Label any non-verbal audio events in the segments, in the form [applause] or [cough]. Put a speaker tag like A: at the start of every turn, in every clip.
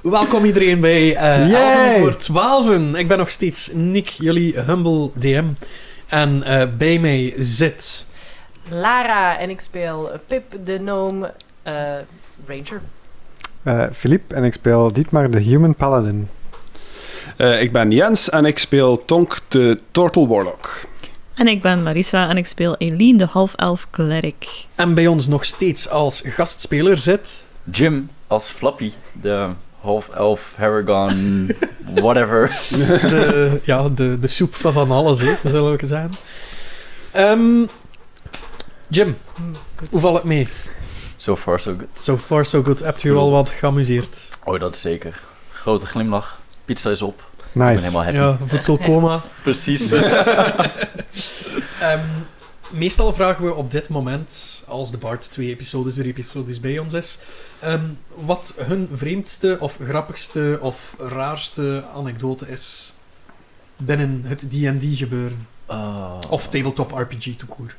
A: Welkom iedereen bij eh
B: Yay!
A: Avond voor 12. Ik ben nog steeds Nick, jullie humble DM. En eh, bij mij zit...
C: Lara en ik speel Pip de Gnome eh, Ranger.
B: Eh, Filip en ik speel Dietmar de Human Paladin.
D: Eh, ik ben Jens en ik speel Tonk de Turtle Warlock.
E: En ik ben Marissa en ik speel Eline, de half-elf cleric.
A: En bij ons nog steeds als gastspeler zit...
F: Jim als Flappy, de half-elf, Haragon, whatever.
A: [laughs] De, ja, de, de soep van van alles, hè, zullen we zeggen. Ehm, Jim, hoe valt het mee?
F: So far so good.
A: So far so good. Hebt u al wat geamuseerd?
F: Oh, dat is zeker. Grote glimlach. Pizza is op. Ik ben
B: Nice.
F: helemaal happy.
A: Ja, voedselcoma. [laughs]
F: Precies.
A: Ehm, meestal vragen we op dit moment, als de Bart twee episodes, drie episodes bij ons is, ehm, wat hun vreemdste of grappigste of raarste anekdote is binnen het D&D gebeuren.
F: Oh.
A: Of tabletop RPG toekoer.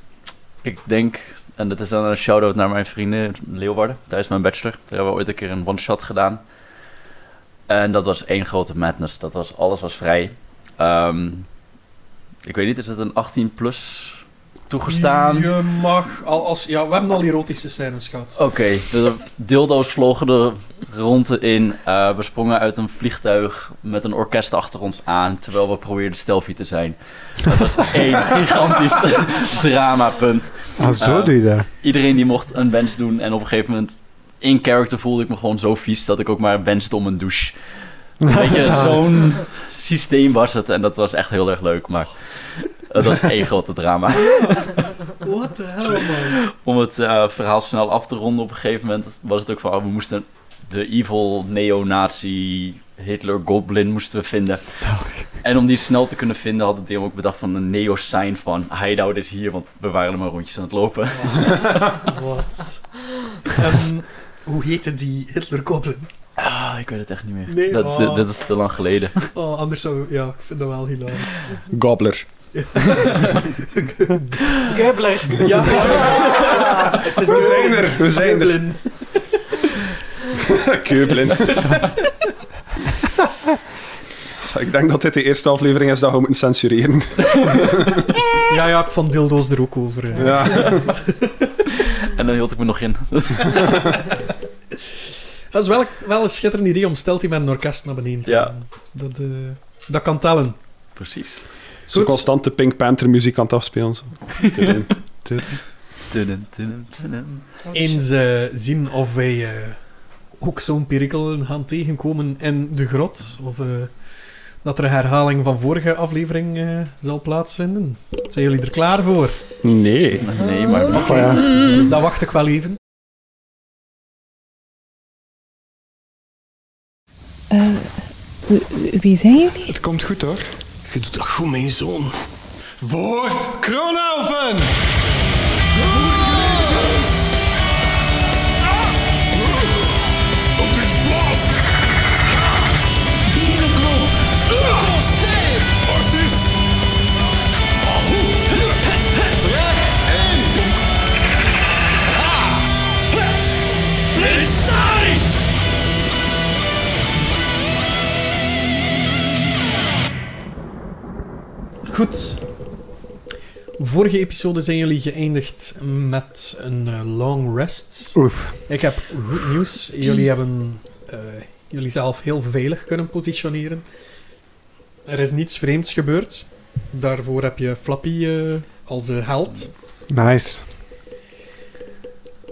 F: Ik denk, en dat is dan een shout-out naar mijn vrienden in Leeuwarden tijdens mijn bachelor. Daar hebben we ooit een keer een one-shot gedaan. En dat was één grote madness. Dat was, alles was vrij. Ehm, ik weet niet, is het een 18 plus toegestaan?
A: Je mag, al als, ja, we hebben al erotische scènes gehad.
F: Oké, dus er- dildo's vlogen er rond in. Eh, we sprongen uit een vliegtuig met een orkest achter ons aan, terwijl we probeerden stealthy te zijn. Dat was één gigantisch dramapunt.
B: Ah, zo
F: Eh,
B: doe je dat.
F: Iedereen die mocht een wens doen en op een gegeven moment in character voelde ik me gewoon zo vies dat ik ook maar wenste om een douche. Weet je, zo'n systeem was het en dat was echt heel erg leuk, maar het was één grote drama
A: What the hell, man.
F: om het eh, verhaal snel af te ronden, op een gegeven moment was het ook van, oh, we moesten de evil neonazi Hitler Goblin moesten we vinden. En om die snel te kunnen vinden had het team ook bedacht van een neo-sign van hideout is hier, want we waren er maar rondjes aan het lopen.
A: Wat? Ehm, hoe heette die Hitler-goblin?
F: Ah, ik weet het echt niet meer.
A: Nee,
F: dat,
A: oh.
F: dit, dit is te lang geleden.
A: Oh, anders zou... Ja, ik vind dat wel hilarisch. [laughs]
D: Gobbler.
C: Gubbler.
A: Ja, het is
D: We zijn er, we zijn er.
A: Goblin.
D: Keublin. [laughs] ik denk dat dit de eerste aflevering is dat we moeten censureren.
A: Ja, ja, ik vond dildo's er ook over. hè.
D: Ja.
F: [laughs] En dan hield ik me nog in.
A: Dat is wel, wel een schitterend idee om stelt hij met een orkest naar beneden te
F: Ja.
A: gaan. Dat, eh, dat kan tellen.
F: Precies.
D: [laughs] Zo
A: Goed.
D: constant de Pink Panther muziek aan het afspelen. Zo. Tudum, tudum.
F: Tudum, tudum, tudum.
A: Eens eh, zien of wij eh, ook zo'n perikel gaan tegenkomen in de grot. Of eh, dat er een herhaling van vorige aflevering eh, zal plaatsvinden. Zijn jullie er klaar voor?
D: nee.
F: Nee, maar...
B: Oh, ja.
A: Dan wacht ik wel even.
E: Wie zijn jullie?
G: Het komt goed hoor. Je doet dat goed, mijn zoon. Voor Kronelfen!
A: Goed. Vorige episode zijn jullie geëindigd met een eh, long rest.
B: Oef.
A: Ik heb goed nieuws. Jullie hebben eh jullie zelf heel veilig kunnen positioneren. Er is niets vreemds gebeurd. Daarvoor heb je Flappy eh, als eh, held.
B: Nice.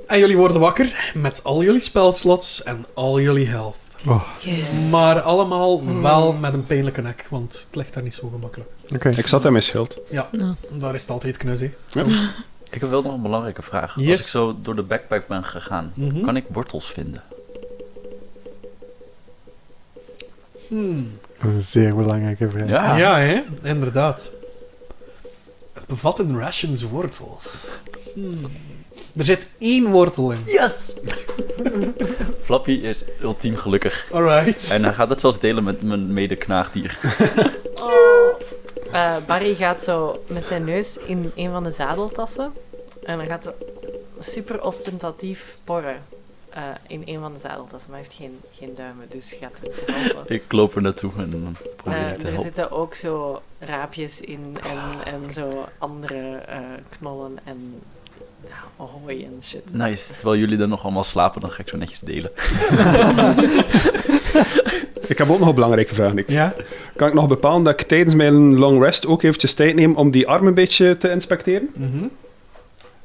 A: En jullie worden wakker met al jullie spelslots en al jullie health.
B: Oh,
E: Yes.
A: Maar allemaal wel met een pijnlijke nek, want het ligt daar niet zo gemakkelijk.
B: oké.
D: Ik zat in mijn schild.
A: Daar is het altijd knus, hè.
F: Ik heb wel nog een belangrijke vraag.
A: Yes.
F: Als ik zo door de backpack ben gegaan,
A: Mhm.
F: kan ik wortels vinden?
A: Hmm.
B: Een zeer belangrijke vraag.
F: Ja.
A: Ja, hè? inderdaad. Bevatten rations wortels? Hmm. Er zit één wortel in.
F: Yes! Flappy is ultiem gelukkig.
A: Alright.
F: En hij gaat het zelfs delen met mijn medeknaagdier.
C: Eh, Barry gaat zo met zijn neus in een van de zadeltassen. En dan gaat hij super ostentatief porren. eh, in een van de zadeltassen, maar hij heeft geen, geen duimen, dus gaat het helpen.
F: Ik loop er naartoe en
C: Eh,
F: probeer ik te
C: er
F: helpen.
C: zitten ook zo raapjes in en, en zo andere eh, knollen en ja, hooi en shit.
F: Nice. Terwijl jullie er nog allemaal slapen, dan ga ik zo netjes delen.
D: Ik heb ook nog een belangrijke vraag, Nick.
A: Ja?
D: Kan ik nog bepalen dat ik tijdens mijn long rest ook eventjes tijd neem om die arm een beetje te inspecteren?
A: Mhm.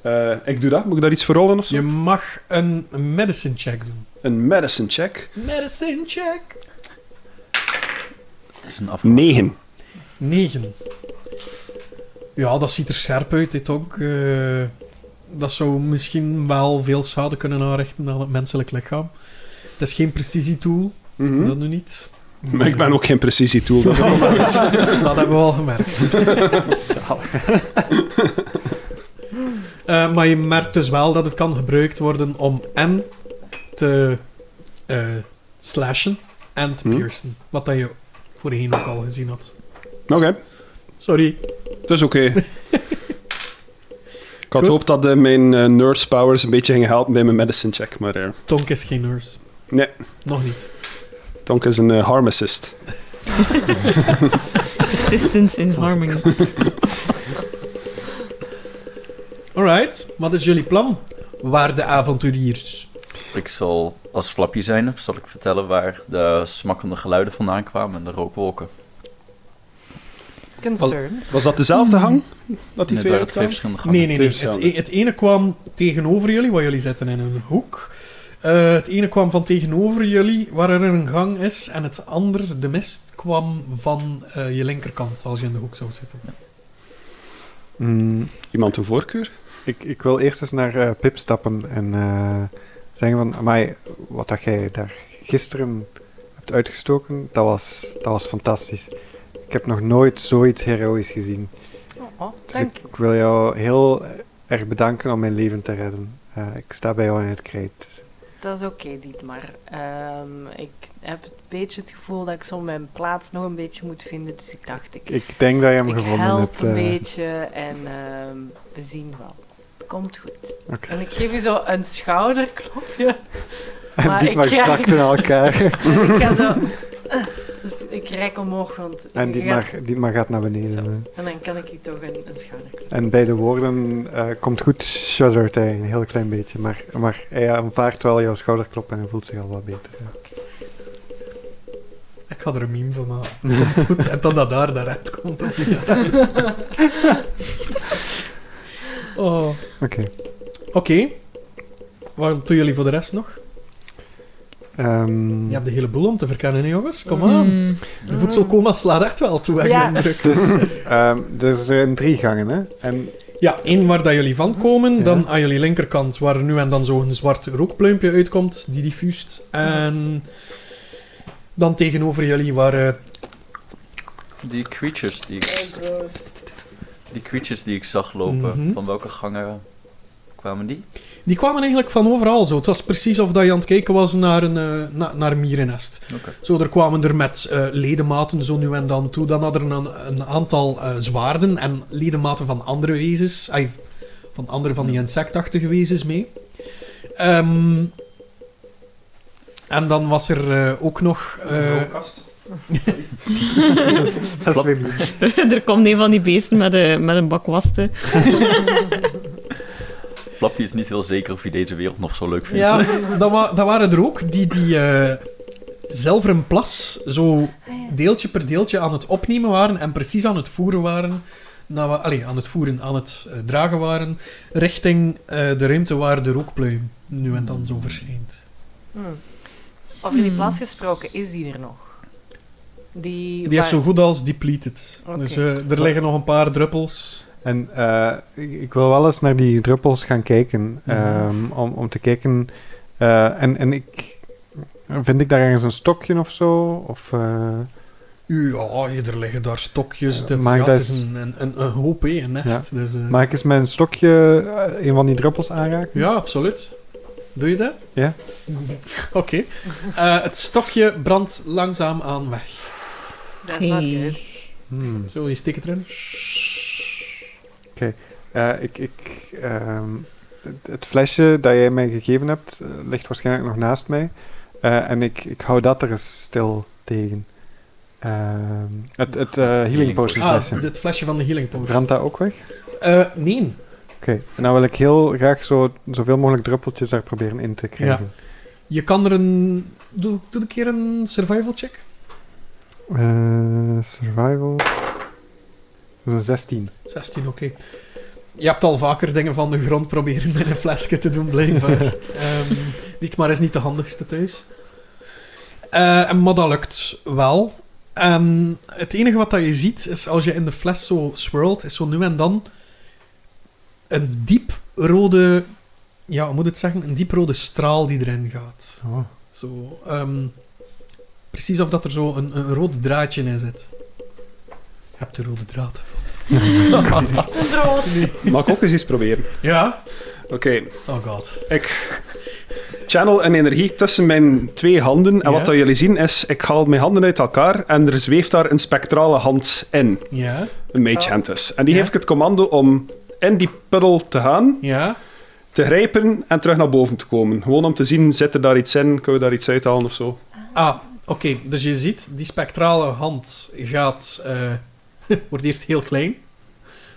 D: Eh, ik doe dat. Moet ik daar iets voor rollen of zo?
A: Je mag een medicine check doen.
D: Een medicine check.
A: Medicine check.
F: Het is een af.
D: 9.
A: 9. Ja, dat ziet er scherp uit, dit ook. Eh, dat zou misschien wel veel schade kunnen aanrichten aan het menselijk lichaam. Het is geen precisietool,
D: Mhm.
A: dat nu niet.
D: Maar ik ben ook geen precisietool. Dat is
A: [laughs]
D: ook-
A: Dat hebben we al gemerkt. [laughs] Eh, maar je merkt dus wel dat het kan gebruikt worden om en te eh, slashen en te
D: Hm.
A: piercen. Wat dat je voorheen ook al gezien had.
D: Oké,
A: Sorry.
D: dat is oké. ik had
A: Goed.
D: gehoopt dat eh, mijn eh, nurse powers een beetje gingen helpen bij mijn medicine check, maar eh
A: Tonk is geen nurse.
D: Nee.
A: Nog niet.
D: Tonk is een eh, harm assist.
E: Assistance in harmony. [laughs]
A: Alright, wat is jullie plan? Waar de avonturiers?
F: Ik zal als flapje zijn, zal ik vertellen waar de smakkende geluiden vandaan kwamen en de rookwolken.
C: Concern.
D: Was dat dezelfde hang? Dat die twee
F: Net waren twee
D: uitkwamen?
F: verschillende gangen.
A: Nee, nee, nee.
D: Tussen
A: Het,
D: zouden.
A: e- het ene kwam tegenover jullie, waar jullie zitten in een hoek. Eh, het ene kwam van tegenover jullie, waar er een gang is. En het andere, de mist, kwam van eh, je linkerkant, als je in de hoek zou zitten.
B: Mm,
D: Iemand een voorkeur?
B: ik, ik wil eerst eens naar eh, Pip stappen en eh, zeggen van, amai, wat dat jij daar gisteren hebt uitgestoken, dat was, dat was fantastisch. Ik heb nog nooit zoiets heroïs gezien.
C: Oh, oh,
B: Dus
C: dank
B: ik,
C: je.
B: ik wil jou heel erg bedanken om mijn leven te redden. Eh, ik sta bij jou in het krijt.
C: Dat is oké, Dietmar. Ehm, ik heb een beetje het gevoel dat ik zo mijn plaats nog een beetje moet vinden, dus ik dacht ik,
B: Ik denk dat je hem
C: ik
B: gevonden
C: help
B: hebt.
C: een
B: eh.
C: beetje en ehm, we zien wel. Komt goed.
B: Oké.
C: En ik geef je zo een schouderklopje.
B: en
C: maar ik
B: Dietmar
C: krijg-
B: zakt in elkaar.
C: [laughs] ik ga zo... Eh, ik rek omhoog, want...
B: en
C: ik
B: Dietmar,
C: ga-
B: Dietmar gaat naar beneden.
C: Zo.
B: eh.
C: En dan kan ik je toch een, een schouderklopje.
B: En bij de woorden eh, komt goed shuddert hij een heel klein beetje, maar, maar eh, hij aanvaardt wel jouw schouderklop en hij voelt zich al wat beter. ja.
A: Ik ga er een meme van maken. Komt goed. En dan dat daar daaruit komt. dat die daaruit komt. oh.
B: Oké.
A: Oké. Wat doen jullie voor de rest nog?
B: Ehm,
A: Je hebt de hele boel om te verkennen, hè, jongens. Kom aan.
E: Mm.
A: De voedselcoma slaat echt wel toe, heb ik
C: Ja.
A: de indruk.
B: Dus ehm, er zijn drie gangen, hè? En
A: Ja, één waar dat jullie van komen,
B: Ja.
A: dan aan jullie linkerkant, waar er nu en dan zo'n zwart rookpluimpje uitkomt, die diffuust. En dan tegenover jullie, waar... eh,
F: Die creatures die ik, die creatures die ik zag lopen,
A: Mhm.
F: van welke gangen kwamen die?
A: die kwamen eigenlijk van overal zo. Het was precies of dat je aan het kijken was naar een, eh, na- naar een mierennest.
F: Oké.
A: Zo, er kwamen er met eh, ledematen zo nu en dan toe. Dan hadden er een, een aantal eh, zwaarden en ledematen van andere wezens. ai, van andere van die insectachtige wezens mee. Ehm, en dan was er eh, ook nog... eh,
B: dat is weer niet.
E: er, er komt een van die beesten met een, met een bak wasten.
F: Flapje is niet heel zeker of hij deze wereld nog zo leuk vindt.
A: Ja, dat, wa- dat waren er ook die, die eh, zilveren plas zo deeltje per deeltje aan het opnemen waren en precies aan het voeren waren. Nou, wa- allee, aan het voeren, aan het eh, dragen waren, richting eh, de ruimte waar de rookpluim nu en dan zo verschijnt.
C: Hmm. Over die
E: Hmm.
C: plaats gesproken, is die er nog? Die,
A: Die
C: waar-
A: is zo goed als depleted.
C: Oké.
A: Dus eh, er liggen nog een paar druppels.
B: En eh, ik, ik wil wel eens naar die druppels gaan kijken. ehm, om, om te kijken. eh, en, en ik. Vind ik daar ergens een stokje of zo? Of, eh,
A: Ja, er liggen daar stokjes.
B: Ja,
A: dat,
B: maar
A: ja,
B: dat
A: het is
B: is-
A: een, een, een, een hoop, hè, een nest. Dus, eh,
B: Mag ik eens met een stokje eh, een van die druppels aanraken?
A: Ja, absoluut. Doe je dat?
B: Ja.
A: Oké. Eh, het stokje brandt langzaam aan weg.
C: Dat is wel
E: Hey.
C: goed.
B: Hmm.
A: Zo, je steekt erin.
B: Eh, ik ik ehm, het- het flesje dat jij mij gegeven hebt, eh, ligt waarschijnlijk nog naast mij. Eh, en ik, ik hou dat er eens stil tegen. Ehm, het het eh, healing
F: Healing
B: potion
F: potion.
A: Ah,
B: flesje.
A: het flesje van de healing potion.
B: Brandt dat ook weg?
A: Eh, nee.
B: Oké, en dan wil ik heel graag zo, zoveel mogelijk druppeltjes daar proberen in te krijgen.
A: Je kan er een... Doe, doe een keer een survival check.
B: Eh, survival. Dat is een 16.
A: 16, oké. Je hebt al vaker dingen van de grond proberen in een flesje te doen, blijkbaar. Ehm maar is niet de handigste thuis. Eh, maar dat lukt wel. En het enige wat dat je ziet, is als je in de fles zo swirlt, is zo nu en dan een diep rode... Ja, hoe moet ik het zeggen? Een diep rode straal die erin gaat.
B: Oh.
A: Zo, ehm, precies of dat er zo een, een rode draadje in zit. Je hebt de rode draad.
C: Een droog.
D: Mag ik ook eens iets proberen?
A: Ja?
D: Oké,
A: Oh god.
D: ik channel en energie tussen mijn twee handen. En
A: Ja.
D: wat dat jullie zien is, ik haal mijn handen uit elkaar en er zweeft daar een spectrale hand in.
A: Ja?
D: Een mage hand dus. En die
A: Oh. Ja.
D: geef ik het commando om in die puddel te gaan,
A: Ja?
D: te grijpen en terug naar boven te komen. Gewoon om te zien, zit er daar iets in? Kunnen we daar iets uithalen of zo?
A: Ah, oké. Dus je ziet, die spectrale hand gaat... eh, [laughs] wordt eerst heel klein.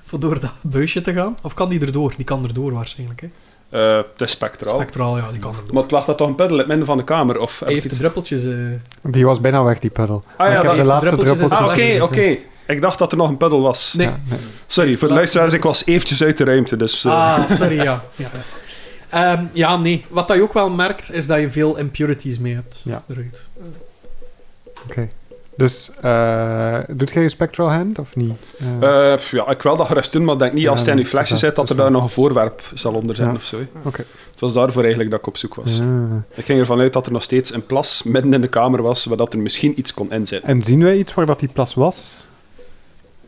A: Voor door dat buisje te gaan. Of kan die erdoor? Die kan erdoor waarschijnlijk, hè?
D: Eh, het is spectraal.
A: Spectraal, ja, die kan erdoor.
D: maar het lag dat toch een puddel in het midden van de kamer? Of
A: Hij
D: heb ik
A: heeft de
D: iets...
A: druppeltjes... eh,
B: Die was bijna weg, die puddel. Maar
D: Ah ja,
B: ik heb
D: dat-
B: de laatste
A: druppeltjes
B: druppeltjes.
A: in
D: Ah,
A: zijn
D: oké,
A: flesje.
D: oké. Ik dacht dat er nog een puddel was.
A: Nee.
B: Ja, nee.
D: Sorry, voor de luisteraars, ik was eventjes uit de ruimte. Dus, eh,
A: Ah, sorry,
B: [laughs]
A: ja. ja. Ehm, ja, nee. Wat dat je ook wel merkt, is dat je veel impurities mee hebt.
B: Ja.
A: Eruit.
B: Dus, eh, doet jij je spectral hand of niet? Eh,
D: Eh, pff, ja, ik wil dat gerust doen, maar ik denk niet
B: Ja,
D: als het in uw
B: nee,
D: flesje
B: dat-
D: zit dat
B: dat
D: er
B: is
D: daar
B: waar.
D: nog een voorwerp zal onder zitten
B: Ja.
D: of zo. hè.
B: Oké.
D: Het was daarvoor eigenlijk dat ik op zoek was.
B: ja.
D: Ik ging ervan uit dat er nog steeds een plas midden in de kamer was, waar dat er misschien iets kon inzitten.
B: En zien wij iets waar dat die plas was?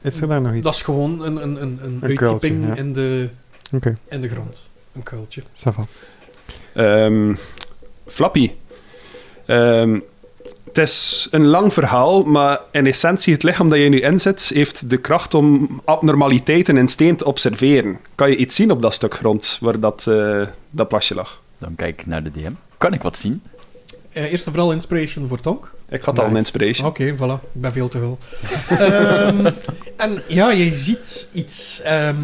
B: Is er daar nog iets?
A: Dat is gewoon een, een, een, een,
B: Een
A: uittyping
B: kuiltje, ja.
A: in, de,
B: Oké.
A: in de grond. Een kuiltje.
B: Ça va.
D: Ehm, Flappy. Ehm, het is een lang verhaal, maar in essentie, het lichaam dat je nu inzet, heeft de kracht om abnormaliteiten in steen te observeren. Kan je iets zien op dat stuk grond waar dat, eh, dat plasje lag?
F: Dan kijk ik naar de DM. Kan ik wat zien?
A: Eh, eerst en vooral inspiration voor Tonk.
D: Ik had al een
B: Nice.
D: inspiration.
A: Oké, voilà. Ik ben veel te veel. Ehm, en ja, je ziet iets. Ehm,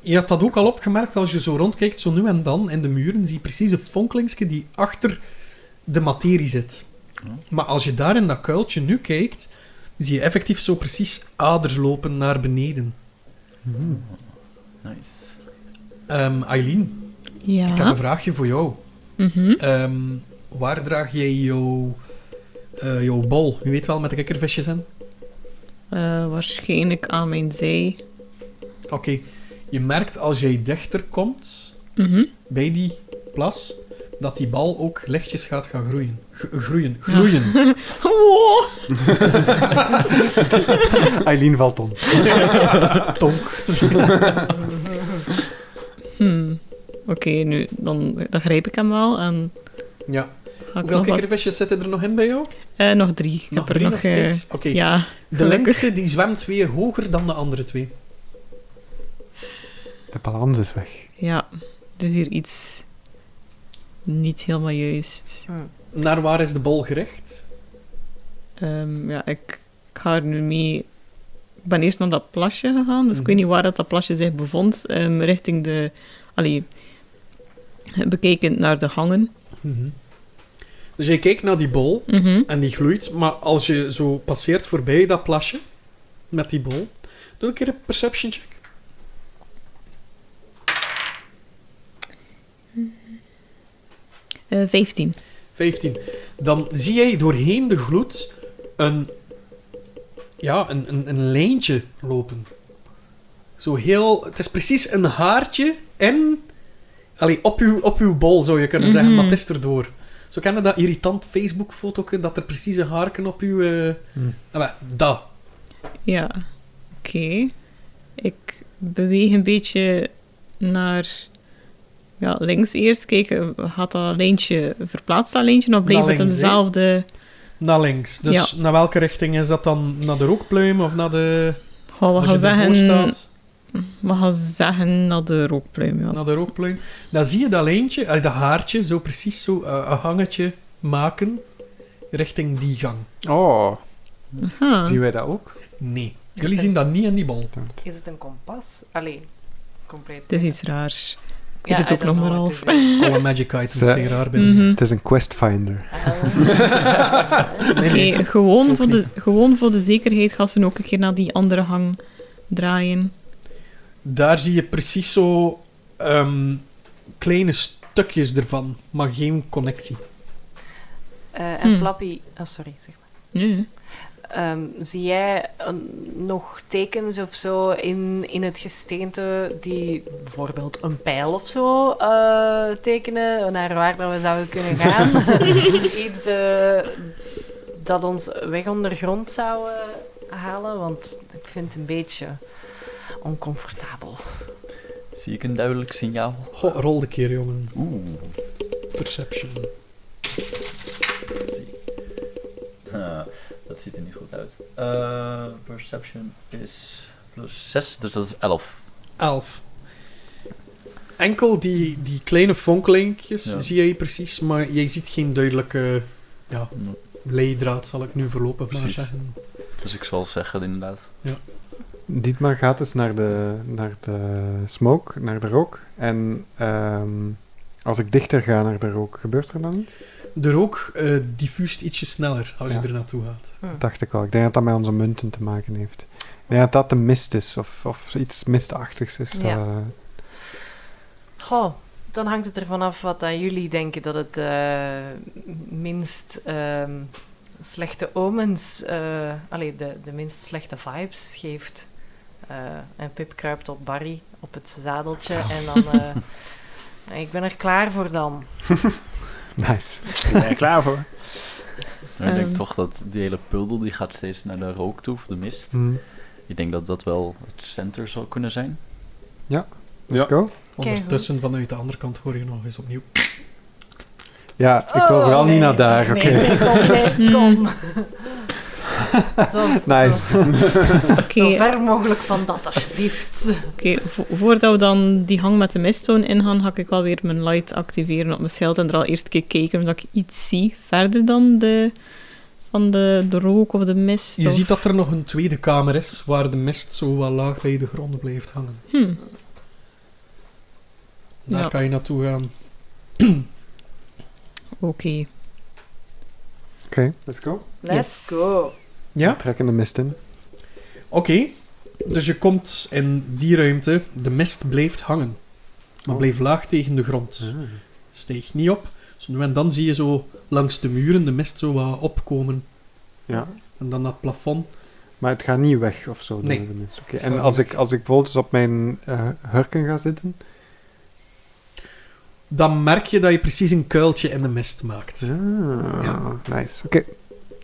A: je had dat ook al opgemerkt als je zo rondkijkt, zo nu en dan in de muren, zie je precies een fonkelingsje die achter de materie zit. Maar als je daar in dat kuiltje nu kijkt, zie je effectief zo precies aders lopen naar beneden.
F: Nice.
A: Ehm, Eileen, ik heb
E: Ja.
A: een vraagje voor jou.
E: Mhm.
A: Ehm, waar draag jij jouw, eh, jouw bol? Je weet wel, met de kikkervisjes in?
E: Eh, waarschijnlijk aan mijn zij.
A: Oké, je merkt als jij dichter komt
E: Mhm.
A: bij die plas, dat die bal ook lichtjes gaat gaan groeien. G- groeien, gloeien.
E: [laughs] Wow.
B: Eileen valt om.
A: Tonk.
E: Hmm. Oké, nu, dan, dan grijp ik hem wel en
A: Ja.
E: ga ik
A: Hoeveel
E: nog, wat-
A: kikkervisjes zitten er nog in bij jou?
E: eh, nog drie. Ik
A: Nog
E: heb er
A: drie nog,
E: nog, eh,
A: steeds? Oké.
E: Ja,
A: de
E: gelukkig.
A: linkse die zwemt weer hoger dan de andere twee.
B: De balans is weg.
E: ja. Dus hier iets niet helemaal juist.
A: Naar waar is de bol gericht?
E: Ehm, ja, ik, ik ga er nu mee. Ik ben eerst naar dat plasje gegaan, dus
A: Mhm.
E: ik weet niet waar dat, dat plasje zich bevond. ehm, richting de. Allee, bekijkend naar de hangen.
A: Mhm. Dus jij kijkt naar die bol
E: Mhm.
A: en die gloeit, maar als je zo passeert voorbij dat plasje met die bol, doe een keer een perception check.
E: Eh, 15.
A: 15. Dan zie jij doorheen de gloed een, ja, een, een, een lijntje lopen. Zo heel... Het is precies een haartje en... Allee, op uw, op uw bol zou je kunnen zeggen, maar het is erdoor. Zo kennen dat irritant Facebook-foto dat er precies een haarken op uw... eh ah, wel, dat.
E: Ja, oké. Ik beweeg een beetje naar ja, links eerst. Kijken, had dat lijntje, verplaatst dat lijntje of bleef
A: Naar
E: het in
A: links, hè?
E: dezelfde...
A: Naar links. Dus naar welke richting is dat dan? Naar de rookpluim of naar de...
E: Goh, we
A: als
E: gaan
A: je ervoor
E: zeggen,
A: staat?
E: we mag je zeggen naar de rookpluim. Ja.
A: naar de rookpluim. Dan zie je dat lijntje, eh, dat haartje, zo precies zo eh, een hangetje maken richting die gang.
B: Oh,
E: Aha.
B: zien wij dat ook?
A: Nee. Jullie zien dat niet in die bal.
C: Is het een kompas? Allee, compleet.
E: Het is iets raars. Ik
C: Ja,
E: weet
C: I
E: het ook nog
C: don't
E: maar
C: know
E: half.
C: what it is.
A: Alle magic items
B: Ze-
A: zijn raar binnen.
E: Mhm.
B: Het is een questfinder.
C: [laughs] Ah.
A: Nee,
E: Oké,
A: nee.
E: gewoon,
A: ook
E: voor de- gewoon voor de zekerheid gaan ze ook een keer naar die andere hang draaien.
A: Daar zie je precies zo ehm, kleine stukjes ervan, maar geen connectie.
C: Eh, en
E: Hmm.
C: Flappy, ah, sorry, zeg maar.
E: Nee.
C: Ehm, zie jij een- nog tekens of zo in, in het gesteente die bijvoorbeeld een pijl of zo eh, tekenen naar waar dat we zouden kunnen gaan?
E: [laughs]
C: Iets eh, dat ons weg onder grond zou eh, halen, want ik vind het een beetje oncomfortabel.
F: Zie ik een duidelijk signaal?
A: Goh, rol de keer, jongen.
F: Oeh.
A: Perception.
F: Ah, dat ziet er niet goed uit. Eh, perception is plus 6, dus dat is 11.
A: Elf. Enkel die, die kleine fonkelinkjes
F: Ja.
A: zie jij precies, maar jij ziet geen duidelijke ja,
F: Nee.
A: leidraad, zal ik nu voorlopig maar
F: Precies.
A: zeggen.
F: Dus ik zal zeggen inderdaad.
B: Dietmar gaat dus naar de, naar de smoke, naar de rook. En ehm, als ik dichter ga naar de rook, gebeurt er dan iets?
A: De rook eh diffuust ietsje sneller als
B: Ja.
A: je er naartoe gaat.
B: Dat dacht ik al. Ik denk dat dat met onze munten te maken heeft. Ik denk dat dat de mist is, of, of iets mistachtigs is.
C: Ja.
B: eh, [laughs]
C: Goh, dan hangt het ervan af wat dat jullie denken dat het eh, minst ehm, slechte omens, eh allee, de, de minst slechte vibes geeft. Eh, en Pip kruipt op Barry op het zadeltje en dan. eh, [laughs] ik ben er klaar voor dan.
B: nice.
D: Ik ben er klaar voor.
F: Maar Ik denk
E: Ehm.
F: toch dat die hele puddel die gaat steeds naar de rook toe, of de mist.
B: Hm.
F: Ik denk dat dat wel het center zou kunnen zijn.
B: Let's
D: Ja.
B: Dus go.
A: Ondertussen vanuit de andere kant hoor je nog eens opnieuw.
B: Ja, ik wil vooral niet naar daar, oké.
C: Oh, Nee,
B: [laughs]
C: kom, nee, kom. zo,
B: Nice.
C: zo,
E: Oké,
C: zo ver mogelijk van dat, alsjeblieft.
E: oké, vo- voordat we dan die hang met de misttoon ingaan, ga ik wel weer mijn light activeren op mijn schild en er al eerst een keer kijken of dat ik iets zie verder dan de, van de, de rook of de mist.
A: Je
E: of-
A: ziet dat er nog een tweede kamer is, waar de mist zo wel laag bij de grond blijft hangen.
E: Hm.
A: Daar
E: Ja.
A: kan je naartoe gaan.
E: Oké.
B: Oké, let's go.
C: Let's
E: Yes.
C: go.
A: Ja?
B: Trek in de mist in.
A: Oké, dus je komt in die ruimte. De mist blijft hangen, maar
B: Oh.
A: bleef laag tegen de grond. Steeg niet op. Zo nu en dan zie je zo langs de muren de mist zo wat opkomen.
B: Ja.
A: En dan dat plafond.
B: Maar het gaat niet weg of zo.
A: Nee.
B: door de mist. Oké.
A: Het
B: En
A: gaat
B: als
A: niet
B: ik, als ik bijvoorbeeld eens op mijn eh, hurken ga zitten.
A: Dan merk je dat je precies een kuiltje in de mist maakt.
B: Ah,
A: Ja.
B: Nice. Oké.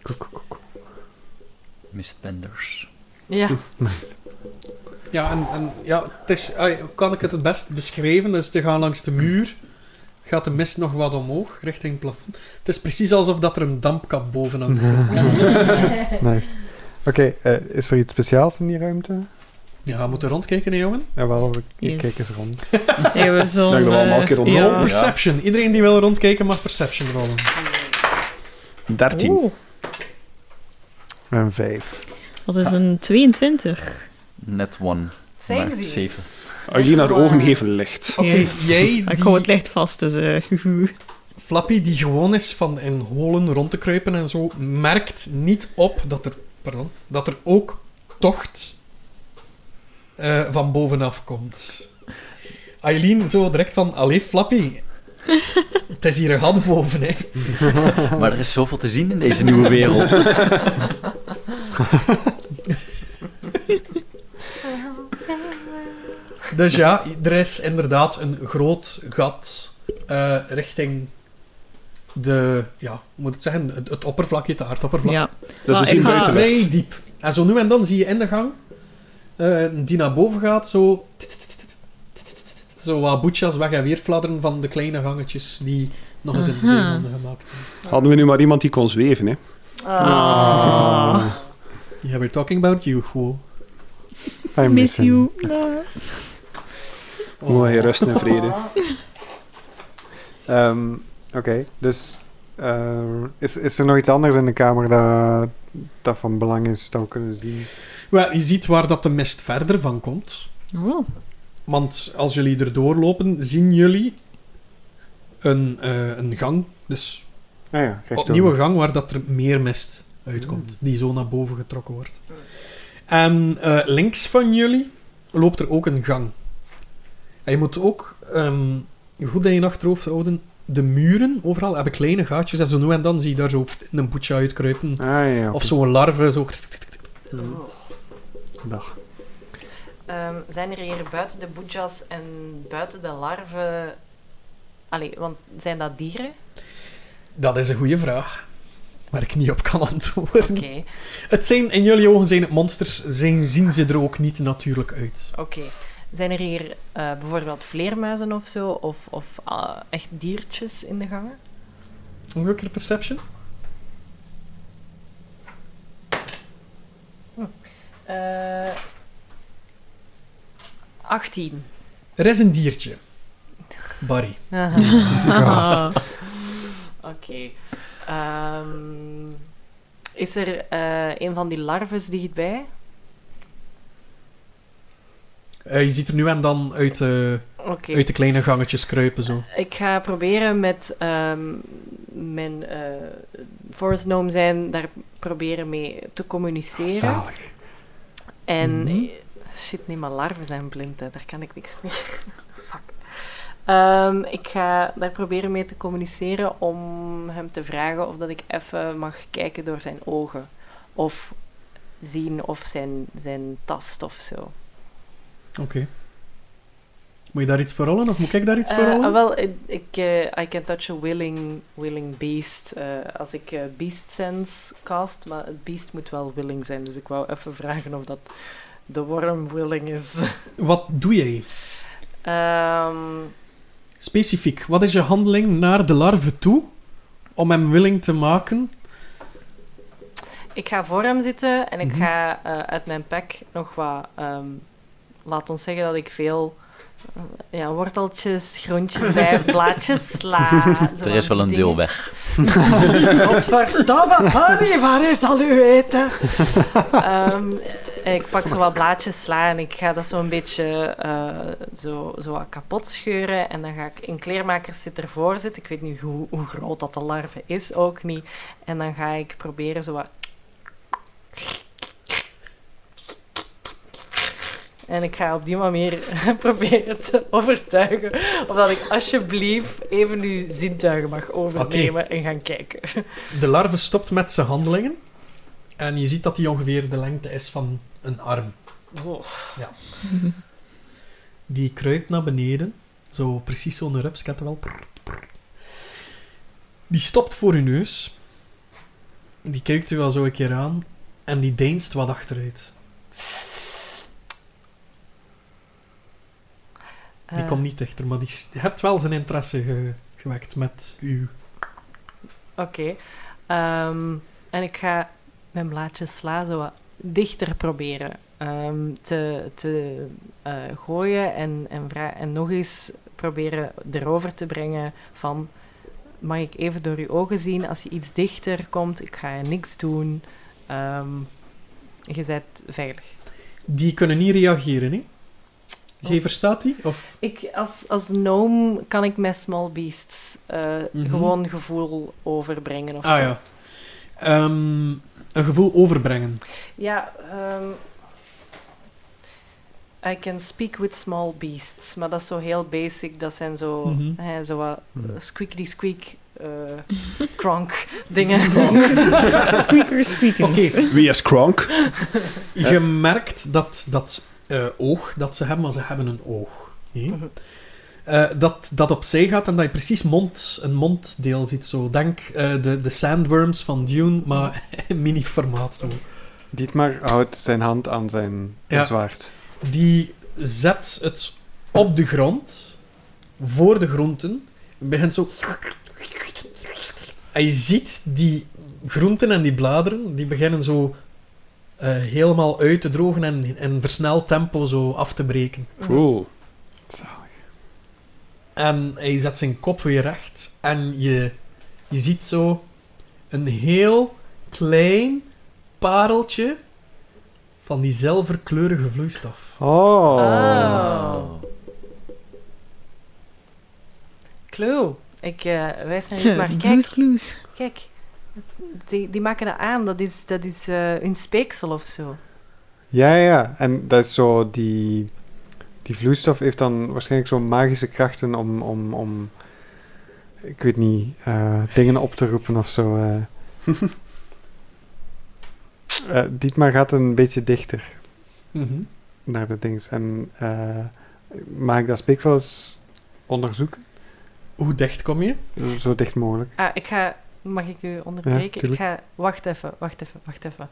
B: Cool, cool, cool, cool.
F: Mistbenders.
C: Ja,
B: Nice.
A: Ja, en, en ja, het is, ai, hoe kan ik het het best beschrijven? Dus te gaan langs de muur, gaat de mist nog wat omhoog, richting het plafond. Het is precies alsof dat er een dampkap boven hangt. zo. [laughs]
B: nice. Oké, eh, is er iets speciaals in die ruimte?
A: Ja, we moeten rondkijken, hè, jongen.
B: Ja, wel, ik, ik
E: Yes.
B: kijk eens rond.
E: Nee, we zullen,
D: Zeg dat we allemaal een keer
E: eh,
D: rondlopen.
A: Roll
E: ja.
A: perception. Iedereen die wil rondkijken, mag perception rollen.
D: 13.
E: Oh. Oeh,
B: Een vijf.
E: Oh, dat is een 22.
F: Net one.
C: zijn ze.
F: 7.
D: Aileen haar ogen geven licht.
A: Oké,
E: Yes.
A: jij
E: Ik hou het
A: die
E: licht vast, dus... eh, [laughs] huhu.
A: Flappy die gewoon is van in holen rond te kruipen en zo, merkt niet op dat er, pardon, dat er ook tocht eh, van bovenaf komt. Aileen zo direct van, allee Flappy, het is hier een gat boven, hè.
F: Maar er is zoveel te zien in deze
C: [laughs]
F: nieuwe wereld.
A: Dus ja, er is inderdaad een groot gat eh, richting de, ja, hoe moet ik het zeggen, het, het oppervlakje, het aardoppervlak.
E: Ja.
D: Dus we
E: Ah,
D: zien
E: ik ga-
A: vrij
D: buitenlicht.
A: diep. En zo nu en dan zie je in de gang eh, die naar boven gaat, zo. Zo wat boetjas weg en weer fladderen van de kleine gangetjes die nog eens in de
E: Aha.
A: zeemonden gemaakt zijn.
D: Hadden we nu maar iemand die kon zweven, hè?
C: Ah.
B: Ah.
A: Yeah, we're talking about you, Guo.
B: I
E: Miss
B: him.
E: you.
D: Mooi, rust en vrede.
E: Oh.
B: Ehm, Oké, dus eh, is, is er nog iets anders in de kamer dat, dat van belang is dat we kunnen zien?
A: Wel, je ziet waar dat de mist verder van komt.
E: Oh,
A: Want als jullie erdoor lopen, zien jullie een, eh, een gang. Dus
B: Ah ja, rechtdoor.
A: opnieuw een gang waar dat er meer mist uitkomt. Die zo naar boven getrokken wordt. En eh, links van jullie loopt er ook een gang. En je moet ook ehm, goed in je achterhoofd houden. De muren overal hebben kleine gaatjes. En zo nu en dan zie je daar zo een boetje uitkruipen.
B: Ah ja,
A: Of zo'n larve. Zo.
B: Dag.
C: Mm. Ehm, zijn er hier buiten de boedjas en buiten de larven... Allee, want zijn dat dieren?
A: Dat is een goede vraag. Waar ik niet op kan antwoorden.
C: Oké,
A: Het zijn, in jullie ogen zijn het monsters, zijn, zien ze er ook niet natuurlijk uit.
C: oké. Zijn er hier eh, bijvoorbeeld vleermuizen of zo? Of, of ah, echt diertjes in de gangen?
A: Nog een keer perception?
C: Eh 18.
A: Er is een diertje. Barry.
C: Aha, [laughs]
E: haha.
C: Oké. Ehm, is er eh, een van die larves dichtbij?
A: Eh, je ziet er nu en dan uit, de-
C: Oké.
A: uit de kleine gangetjes kruipen zo.
C: Ik ga proberen met ehm, mijn eh, forest gnome zijn, daar proberen mee te communiceren.
B: Zalig.
C: En
A: Mhm.
C: shit, nee, maar larven zijn blind, hè. daar kan ik niks mee. [laughs] Zak. Ehm, ik ga daar proberen mee te communiceren om hem te vragen of dat ik even mag kijken door zijn ogen. Of zien of zijn, zijn tast of zo.
A: Oké. Moet je daar iets voor rollen of moet ik daar iets voor
C: Eh,
A: rollen?
C: wel, ik, ik, eh, I can touch a willing, willing beast. eh, als ik eh, beast sense cast, maar het beest moet wel willing zijn. Dus ik wou even vragen of dat de worm willing is. [laughs]
A: Wat doe jij?
C: Ehm,
A: Specifiek, wat is je handeling naar de larve toe om hem willing te maken?
C: ik ga voor hem zitten en ik
A: Mhm.
C: ga eh, uit mijn pack nog wat... ehm, laat ons zeggen dat ik veel... eh, Ja, worteltjes, groentjes
A: [laughs]
C: bij blaadjes sla. zo
F: Er is
C: van
F: wel een
C: die
F: deel
C: dingen.
F: weg.
C: Godverdomme, Harry, waar is al uw eten? Ehm, ik pak zo wat blaadjes sla en ik ga dat zo een beetje eh, zo, zo wat kapot scheuren. En dan ga ik een kleermaker zit ervoor zitten. Ik weet niet hoe, hoe groot dat de larve is, ook niet. En dan ga ik proberen zo wat... En ik ga op die manier [laughs] proberen te overtuigen of dat ik alsjeblieft even uw zintuigen mag overnemen en gaan kijken.
A: De larve stopt met zijn handelingen en je ziet dat die ongeveer de lengte is van een arm.
C: Oh.
A: Die kruipt naar beneden. Zo precies zo'n rups, ik had het wel. Prr, prr. Die stopt voor uw neus. Die kijkt u wel zo een keer aan. En die deinst wat achteruit. Die
C: Eh,
A: komt niet dichter, maar die s- je hebt wel zijn interesse ge- gewekt met u.
C: Oké. Ehm, en ik ga mijn blaadje sla zo wat dichter proberen ehm, te, te eh, gooien en, en, vra- en nog eens proberen erover te brengen van mag ik even door uw ogen zien als je iets dichter komt, ik ga je niks doen. Ehm, je bent veilig.
A: Die kunnen niet reageren, hè?
C: Oh.
A: Jij verstaat die? Of...
C: Ik, als, als gnome kan ik met small beasts eh,
A: Mhm.
C: gewoon gevoel overbrengen of
A: Ah
C: zo.
A: ja. Ehm, een gevoel overbrengen.
C: Ja, ehm I can speak with small beasts, maar dat is zo heel basic. Dat zijn zo,
A: Mhm.
C: hè, zo wat eh,
B: Mhm.
C: squeaky squeak, eh kronk dingen.
E: [laughs] Squeaker
A: Oké,
E: squeakens.
D: Wie is Kronk?
A: Je merkt dat dat eh, oog dat ze hebben, want ze hebben een oog. hè?
C: Mhm.
A: Eh, dat, dat opzij gaat en dat je precies mond, een monddeel ziet. Zo. Denk eh, de, de sandworms van Dune, maar [laughs] in mini-formaat. Zo.
B: Dietmar houdt zijn hand aan zijn
A: Ja.
B: zwaard.
A: Die zet het op de grond, voor de groenten, en begint zo... En je ziet die groenten en die bladeren, die beginnen zo eh, helemaal uit te drogen en in versneld tempo zo af te breken.
D: Cool.
B: Zalig.
A: En hij zet zijn kop weer recht. En je, je ziet zo een heel klein pareltje van die zilverkleurige vloeistof.
B: Oh.
C: Oh. Clue. Ik eh, wijs naar
E: [laughs]
C: je, maar kijk,
E: Blues Clues.
C: kijk. Die, die maken dat aan, dat is, dat is eh, hun speeksel of zo.
B: Ja, ja. En dat is zo die... Die vloeistof heeft dan waarschijnlijk zo'n magische krachten om, om, om... Ik weet niet, eh, dingen op te roepen of zo. eh. Eh, Dietmar gaat een beetje dichter naar de dings. En eh, mag ik dat speeksel eens onderzoeken?
A: Hoe dicht kom je?
B: Zo dicht mogelijk.
C: Ah, ik ga... Mag ik u onderbreken? ik
B: tuurlijk.
C: ga... Wacht even, wacht even, wacht even.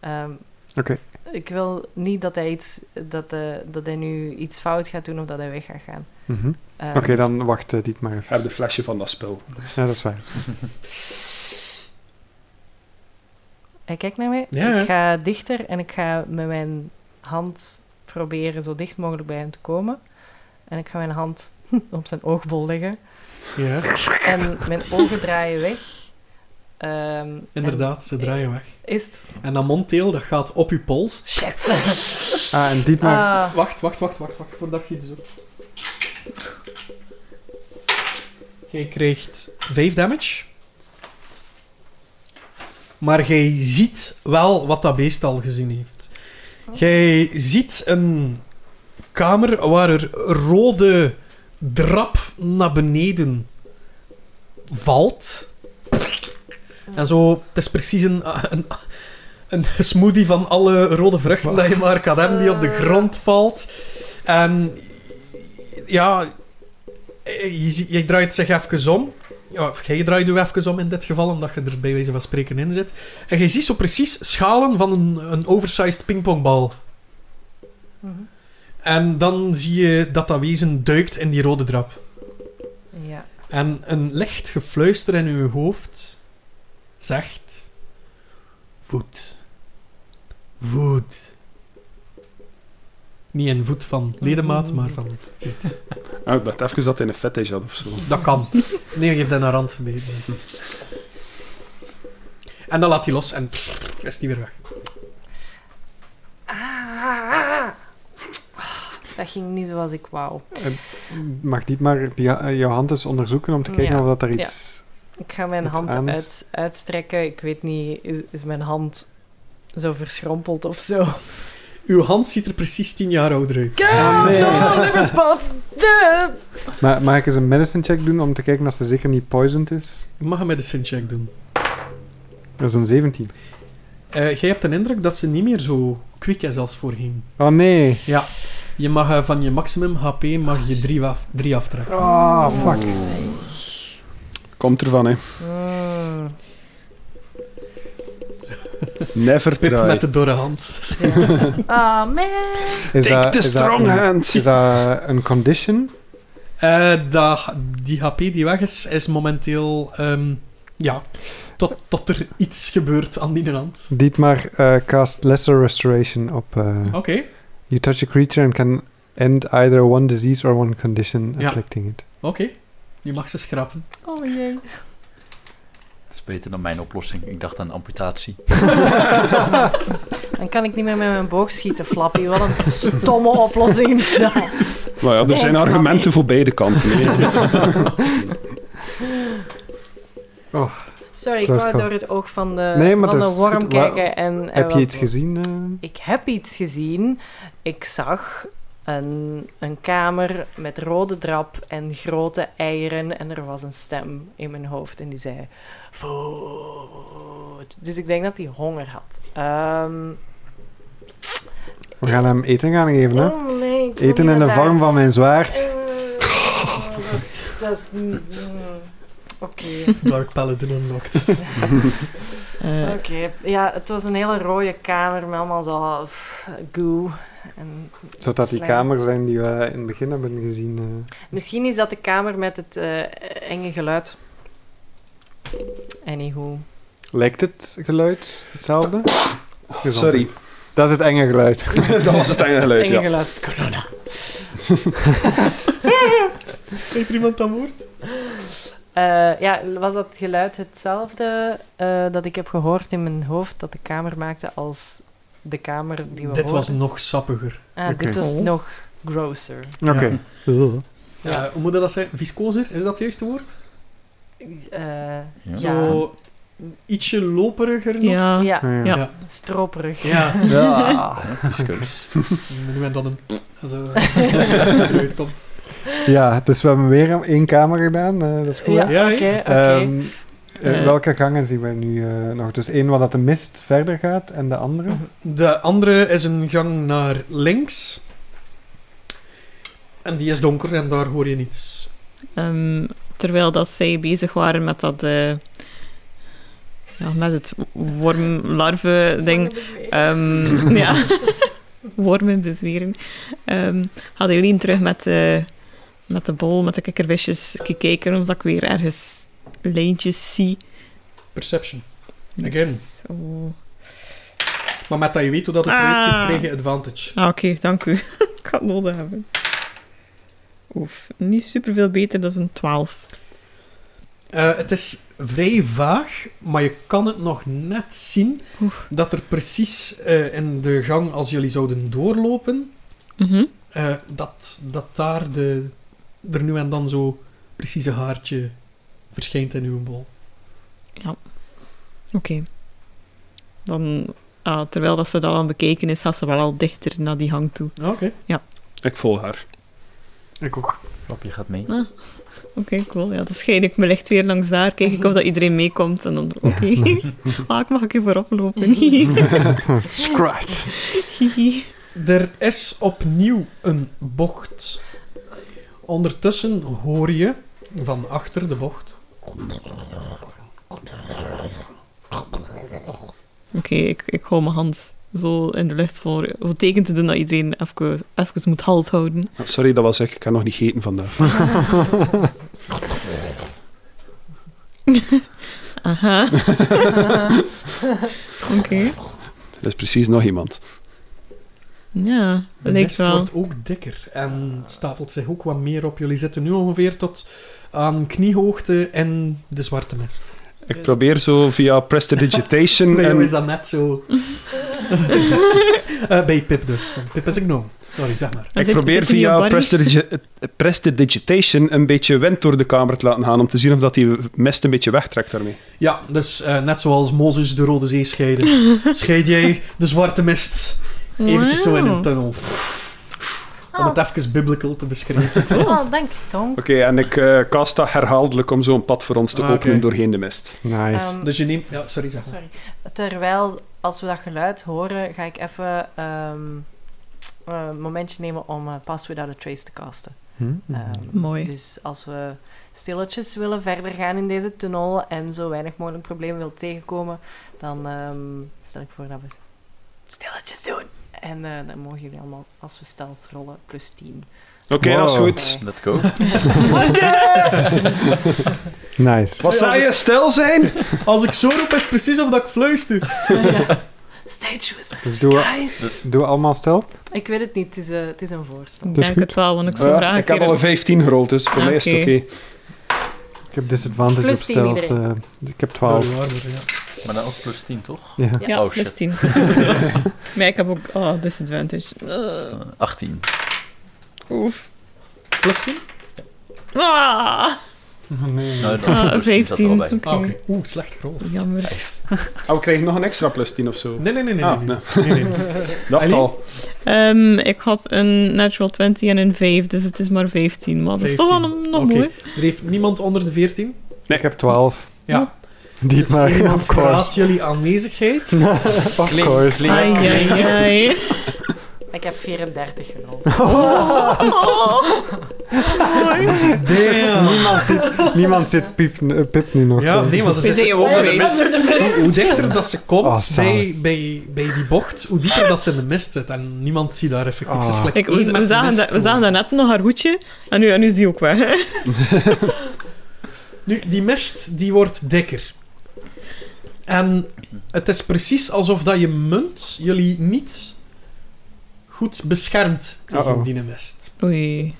C: Ehm,
B: Oké.
C: Ik wil niet dat hij, iets, dat, eh, dat hij nu iets fout gaat doen of dat hij weg gaat gaan.
B: Mhm.
C: Ehm,
B: Oké, dan wacht eh, Dietmar
D: Ik
B: even.
D: heb de flesje van dat spul.
B: Ja, dat is waar.
C: Hij kijkt naar mij.
A: Ja, ja.
C: Ik ga dichter en ik ga met mijn hand proberen zo dicht mogelijk bij hem te komen. En ik ga mijn hand [laughs] op zijn oogbol leggen.
A: Ja,
C: En mijn ogen draaien weg. Ehm, en
A: inderdaad, ze draaien weg.
C: Is het...
A: En dat mondteel, dat gaat op je pols.
C: Shit.
B: Ah, en Dietmar...
C: Ah,
A: Wacht, wacht, wacht, wacht, wacht, voordat je iets doet. Jij krijgt 5 damage. Maar jij ziet wel wat dat beest al gezien heeft. Oh. Jij ziet een kamer waar er rode drap naar beneden valt. En zo, het is precies een, een, een smoothie van alle rode vruchten dat je maar kan hebben, die op de grond valt. En ja, je, ziet- je draait zich even om. Ja, of jij draait je even om in dit geval, omdat je er bij wijze van spreken in zit. En je ziet zo precies schalen van een, een oversized pingpongbal.
C: Mhm.
A: En dan zie je dat dat wezen duikt in die rode drap.
C: ja.
A: En een licht gefluister in uw hoofd zegt: Voet. Voet. Niet een voet van ledemaat, maar van eet.
D: Ah, ik dacht even dat hij een fetish had of zo.
A: Dat kan. Nee, geef dat naar rand mee. En dan laat hij los en is die weer weg.
C: Ah. Dat ging niet zoals ik wou.
B: Mag niet maar die, ha- eh, jouw hand eens onderzoeken om te kijken
C: Ja,
B: of dat er
C: ja.
B: iets...
C: Ik ga mijn
B: Iets
C: hand
B: anders?
C: uit, uitstrekken. Ik weet niet, is, is mijn hand zo verschrompeld of zo?
A: Uw hand ziet er precies 10 jaar ouder uit.
B: Ah, nee.
C: Oh, liverspot! De...
B: Maar mag ik eens een medicine check doen om te kijken of ze zeker niet poisoned is?
A: Je mag een medicine check doen.
B: Dat is een 17.
A: Eh, jij hebt de indruk dat ze niet meer zo kwik is als voorheen.
B: Oh nee.
A: Ja. Je mag eh, van je maximum HP mag je 3 af, drie aftrekken.
B: Oh, fuck.
D: Komt ervan, hè.
C: Mm,
D: Hmm. Never
A: Pip
D: try.
A: met de dorre hand.
C: ja. Ah, man!
B: Is
D: Take the
B: is
D: strong
B: een,
D: hand.
B: Is dat een condition?
A: Eh, dat- die HP die weg is, is momenteel... ehm, ja, tot, tot er iets gebeurt aan die hand.
B: Dietmar eh cast Lesser Restoration op... eh,
A: Oké.
B: You touch a creature and can end either one disease or one condition
A: Ja.
B: afflicting it.
A: Oké. Je mag ze schrappen.
C: Oh jee.
F: Dat is beter dan mijn oplossing. Ik dacht aan amputatie.
C: Dan kan ik niet meer met mijn boog schieten, Flappy. Wat een stomme [laughs] oplossing.
D: Maar Nou ja, er zijn
C: Thanks,
D: argumenten
C: mommy.
D: voor beide kanten. hè.
C: Sorry, ik
B: Close
C: wou
B: call.
C: door het oog van de,
B: Nee, maar
C: van
B: dat
C: de
B: is
C: worm
B: goed. Wa-
C: kijken. En, en
B: Heb je
C: wat-
B: iets gezien? eh?
C: Ik heb iets gezien. Ik zag een, een kamer met rode drap en grote eieren. En er was een stem in mijn hoofd en die zei... Voet. Dus ik denk dat hij honger had. Ehm,
B: We gaan hem eten gaan geven, hè?
C: oh nee, ik
B: Eten
C: wil niet
B: in
C: naar
B: de
C: daar.
B: vorm van mijn zwaard.
C: Eh, dat is- Dat is... niet-
B: [laughs]
C: mm. Oké,
A: Dark Paladin unlocked.
E: Eh,
C: oké. Ja, het was een hele rode kamer met allemaal zo... pff, goo. En
B: Zou dat die
C: slijm.
B: kamer zijn die we in het begin hebben gezien? eh?
C: Misschien is dat de kamer met het eh, enge geluid. Anywho.
B: Lijkt het geluid hetzelfde? Gezondheid.
D: [laughs] Sorry,
B: Dat is het enge geluid.
D: dat was het enge geluid,
C: enge
D: ja.
C: geluid. Corona.
A: Spreekt er iemand dan woord?
C: Eh, ja, was dat geluid hetzelfde eh, dat ik heb gehoord in mijn hoofd dat de kamer maakte als de kamer die we
A: Dit was
C: hoorden?
A: nog sappiger.
C: Ah, Dit
B: Oké.
C: was
E: Oh.
C: nog grosser.
B: Oké.
A: Ja, Eh, hoe moet je dat zeggen? Viscozer, is dat het juiste woord?
C: Eh,
F: Ja.
C: ja.
A: Zo ietsje loperiger nog.
E: Ja.
C: ja,
B: Ja.
E: Ja.
C: stroperig.
A: Ja,
F: Ja,
C: [laughs]
F: fiscus.
A: nu en dan een... [laughs] Zo, dat eruit komt.
B: Ja, dus we hebben weer één kamer gedaan. eh, dat is goed.
C: Ja,
B: hè?
C: oké,
A: Ja, hè?
C: oké.
B: Ehm, eh,
E: Eh.
B: welke gangen zien we nu eh, nog? Dus één waar dat de mist verder gaat en de andere?
A: De andere is een gang naar links. En die is donker en daar hoor je niets.
E: Ehm, terwijl dat zij bezig waren met dat... eh, ja, met het wormlarven-ding. Ehm, [laughs] ja. Wormen bezweren. Ehm, had Eileen terug met de, met de bol, met de kikkervisjes gekeken, omdat ik weer ergens lijntjes zie. Dus, oh.
A: Perception. Again.
E: Zo.
A: Maar met dat je weet hoe dat het eruit
E: Ah.
A: ziet, krijg je advantage.
E: Ah, oké, dank u. [laughs] ik had het nodig hebben. Oef, niet superveel beter, dat is een 12.
A: Eh, het is vrij vaag, maar je kan het nog net zien dat er precies eh, in de gang, als jullie zouden doorlopen,
E: Mhm.
A: eh, dat, dat daar de, er nu en dan zo precies een haartje verschijnt in uw bol.
E: Oké. Dan, ah, terwijl dat ze dat aan bekeken is, gaat ze wel al dichter naar die hang toe.
A: Oké.
D: Ik volg haar.
B: Ik ook.
F: Flapje gaat mee.
E: Oké, cool. Ja, dan schijn ik mijn licht weer langs daar, kijk ik of dat iedereen meekomt. En dan, oké. ah, ik mag een keer voorop lopen. [laughs]
B: Scratch.
E: Hihi.
A: Er is opnieuw een bocht. Ondertussen hoor je van achter de bocht.
E: Oké, ik, ik hou mijn hand zo in de lucht voor, voor teken te doen dat iedereen even, even moet halt houden.
D: Ah, Sorry, dat was ik. Ik kan nog niet gegeten vandaag.
E: Aha. oké.
D: Er is precies nog iemand.
E: Ja,
A: De
E: dat lijkt
A: mist
E: wel.
A: wordt ook dikker en stapelt zich ook wat meer op. Jullie zitten nu ongeveer tot aan kniehoogte in de zwarte mist.
D: Ik probeer zo via prestidigitation
A: Bij jou is
D: Mm, en...
A: dat net zo. Eh, bij Pip dus. want Pip is een gnome. Sorry, zeg maar.
E: Dan
D: Ik
E: zit-
D: probeer
E: zit je niet op
D: via
E: Barbie?
D: prestidigi- eh, prestidigitation een beetje wind door de kamer te laten gaan om te zien of dat die mist een beetje wegtrekt daarmee.
A: Ja, dus eh, net zoals Mozes de Rode Zee scheiden, scheid jij de zwarte mist eventjes zo in een
E: Wauw.
A: tunnel. Om
C: Oh,
A: het even biblical te beschrijven.
C: oh, dank je, Tonk.
D: Oké, en ik eh cast dat herhaaldelijk om zo'n pad voor ons te
A: Ah,
D: openen
A: oké.
D: doorheen de mist.
B: Nice.
C: Ehm,
A: Dus je neemt... Ja, sorry, zeg maar.
C: Sorry. Terwijl, als we dat geluid horen, ga ik even ehm, eh, een momentje nemen om eh, Pass Without a Trace te casten.
B: Hm? Mhm.
C: Ehm,
E: Mooi.
C: Dus als we stilletjes willen verder gaan in deze tunnel en zo weinig mogelijk problemen wil tegenkomen, dan ehm, stel ik voor dat we stilletjes doen. En eh, dan mogen jullie allemaal, als we stelt rollen, plus 10.
D: Oké, dat is
B: Wow.
D: goed.
F: Let's go.
B: Nice.
D: Wat zei je? Stil
A: [laughs]
D: zijn?
A: Als ik zo roep, is het precies of dat ik fluister.
B: Dus
C: Stage wizards,
B: doen we-
F: Dus,
C: guys!
B: Doen we allemaal stealth?
C: Ik weet het niet, het is, eh, het is een voorstel.
E: Ik
B: Dat is
E: denk
B: goed.
E: het wel, want ik zou
D: Ja,
E: graag een
D: Eh, ik heb
E: keer-
D: al een 15 gerold, dus voor
E: Ah,
D: mij is het oké.
E: oké.
B: Ik heb disadvantage
C: Plus
B: op
C: tien
B: stealth.
C: iedereen.
B: eh, ik heb
A: Door
B: 12.
A: je armen, ja.
F: Maar dan ook plus 10, toch?
B: Ja.
F: Ja.
E: Ja,
F: Oh,
E: plus
F: shit.
E: 10. maar ik heb ook oh, disadvantage. Eh,
F: Eh, 18.
E: oef.
A: Plus 10?
E: Ah,
F: Nou, dan
E: Ah,
F: plus 10 zat er
E: 15.
F: al bij.
E: Oké.
A: Ah, oké. Oeh, slecht gerold.
E: Jammer.
D: Oh, we krijgen nog een extra plus 10 of zo.
A: Nee, nee, nee, nee.
D: Ah,
A: nee, nee. nee, nee, [laughs] nee.
D: Dacht
A: Eileen?
D: al.
E: Ehm, ik had een natural 20 en een 5, dus het is maar 15. Maar dat is toch wel nog
A: Oké.
E: mooi.
A: Er heeft niemand onder de 14.
B: Ik heb 12.
A: Ja.
B: Die
A: Dus
B: maar.
A: iemand
B: Of course.
A: verraadt jullie
B: [laughs]
A: aanwezigheid.
B: Of course.
E: Ai, ai, ai.
C: Ik heb 34 gerold.
E: Oh.
A: [laughs] Damn.
B: [laughs] Niemand zit, niemand zit piep, eh, Pip nu nog.
A: Ja,
B: eh.
A: nee, maar ze
E: We
A: zitten
E: zijn gewoon
A: onder
E: de mist.
C: dus-
A: Hoe dichter dat ze komt
B: Oh, zalig.
A: bij, bij, bij die bocht, hoe dieper dat ze in de mist zit. En niemand ziet daar effectief. Ze is
B: Ah.
A: gelijk
E: Kijk,
A: één
E: we,
A: met
E: we,
A: de
E: zagen
A: mist
E: dat, we
A: gewoon.
E: zagen daarnet nog haar hoedje en nu, en nu is die ook weg. hè.
A: Nu, die mist die wordt dikker. En het is precies alsof dat je munt jullie niet goed beschermt tegen
B: Uh-oh.
A: die mist.
E: Oei.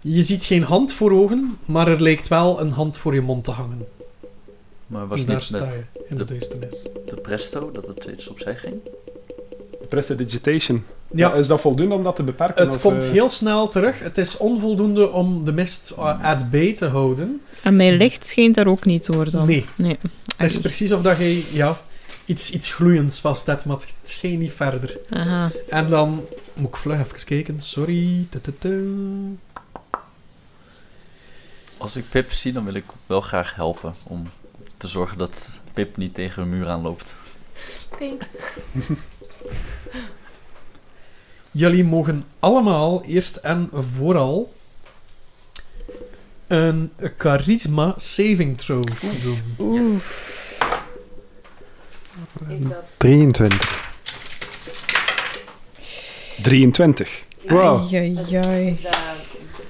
A: Je ziet geen hand voor ogen, maar er lijkt wel een hand voor je mond te hangen.
F: Maar was
A: En daar
F: niet
A: sta
F: de,
A: je, in de duisternis.
F: de presto dat het iets opzij ging?
D: Prestidigitation.
A: Ja,
D: Is dat voldoende om dat te beperken?
A: het
D: of,
A: komt
D: eh,
A: heel snel terug. Het is onvoldoende om de mist eh, at bay te houden.
E: En mijn licht schijnt daar ook niet door dan.
A: Nee,
E: Nee.
A: het is precies of dat je ja, iets, iets gloeiends vast hebt, maar het scheen niet verder.
E: Aha.
A: En dan moet ik vlug even kijken. Sorry. Tututu.
F: Als ik Pip zie, dan wil ik wel graag helpen om te zorgen dat Pip niet tegen een muur aanloopt.
C: Thanks.
A: Jullie mogen allemaal eerst en vooral een charisma saving throw doen.
E: Oef.
C: Ik dat.
B: 23.
D: 23.
B: Wow.
C: Is dat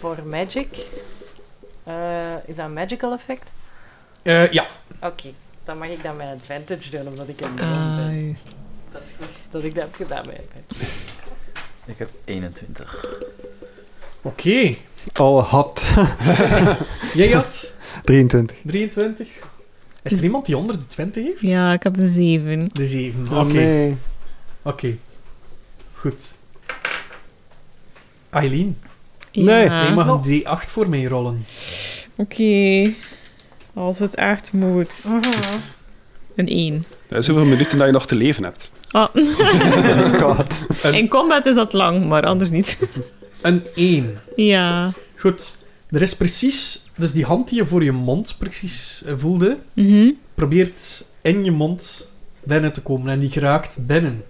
C: voor magic? Eh, is dat een magical effect?
A: Eh, ja,
C: Oké, dan mag ik dat met advantage doen, omdat ik
E: Ah.
C: een bron ben.
E: Ai.
C: Dat is goed dat ik dat heb gedaan bij bij-
F: Ik heb 21.
A: oké.
B: All hot.
A: Jij had
B: 23.
A: 23. Is er iemand die onder de 20 heeft?
E: Ja, ik heb een 7.
A: De 7. Oké,
B: Oh nee.
A: oké. Goed. Eileen,
B: Nee.
E: Ja.
A: jij mag een D8 voor mij rollen.
E: Oké. Als het echt moet.
A: Mhm.
E: Een 1.
D: Dat is hoeveel minuten dat je nog te leven hebt.
F: [laughs]
E: Ah.
B: God.
A: [laughs]
E: In combat is dat lang, maar anders niet. [laughs]
A: Een 1.
E: ja.
A: Goed. Er is precies... Dus die hand die je voor je mond precies eh, voelde,
E: Mhm.
A: probeert in je mond binnen te komen en die geraakt binnen.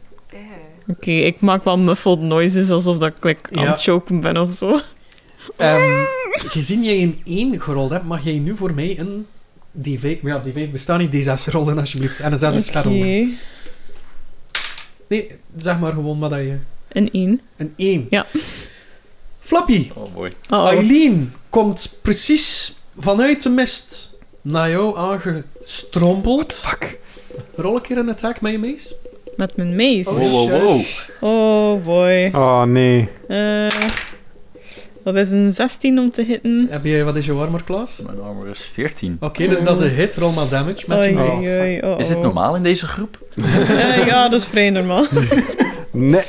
E: Oké, ik maak wel muffled noises alsof dat ik like, aan
A: Ja.
E: het choken ben of zo.
A: Ehm, gezien jij een 1 gerold hebt, mag jij nu voor mij een D5... Maar ja, D5 bestaat niet, D6 rollen alsjeblieft. En een 6 is
E: Oké.
A: rollen. Nee, zeg maar gewoon wat dat je...
E: Een 1.
A: Een 1.
E: Ja.
A: Flappy,
F: Oh boy.
E: Oh,
A: Eileen komt precies vanuit de mist naar jou aangestrompeld.
B: Fuck.
A: Rol een keer een attack met je mees.
E: met mijn mees.
A: Oh,
E: Oh, boy.
B: Oh nee.
E: Eh, dat is een 16 om te hitten.
A: Heb je, wat is je armor class? Oké,
F: Mijn armor is 14.
A: dus dat is een hit. Rol maar damage met je
E: Oei,
A: mees.
E: oei, oei, oh,
F: Is dit
E: oh.
F: normaal in deze groep?
E: Eh, ja, dat is vrij
F: [laughs]
E: normaal.
B: Nee.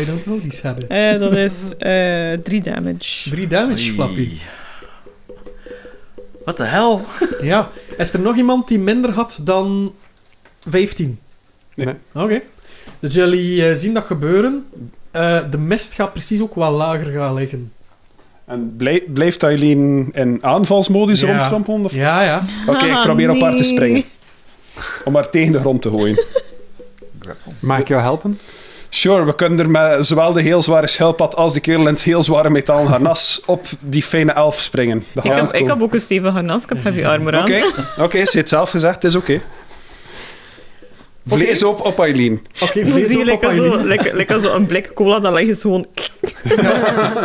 A: I don't know these habits.
E: Eh, dat is eh 3 damage.
A: Drie damage, Oh, Flappy.
F: Wat de hel?
A: Ja. Is er nog iemand die minder had dan 15?
D: Nee.
A: Oké. Dus jullie eh, zien dat gebeuren. Eh, de mist gaat precies ook wel lager gaan liggen.
D: En blij- blijft Eileen in aanvalsmodus
A: Ja.
D: rondstrampelen? Of...
A: Ja, ja.
D: Oké, ik probeer op haar te
E: nee.
D: springen. Om haar tegen de grond te gooien.
F: Grapple.
B: Mag ik jou helpen?
D: Sure, we kunnen er met zowel de heel zware schelpad als de kerel in het heel zware metalen harnas op die fijne elf springen. Dat
E: Ik
D: gaat
E: heb, ik
D: goed
E: heb ook een stevig harnas, ik heb heavy armor aan.
D: komen.
E: [laughs]
D: Oké, oké, ze heeft zelf gezegd, het is oké. Vlees op op Eileen.
A: Oké,
E: Dan
A: vlees
E: zie je
A: op op
E: lekker zo,
A: Eileen.
E: lekker, lekker zo een blik cola, dat leg je gewoon...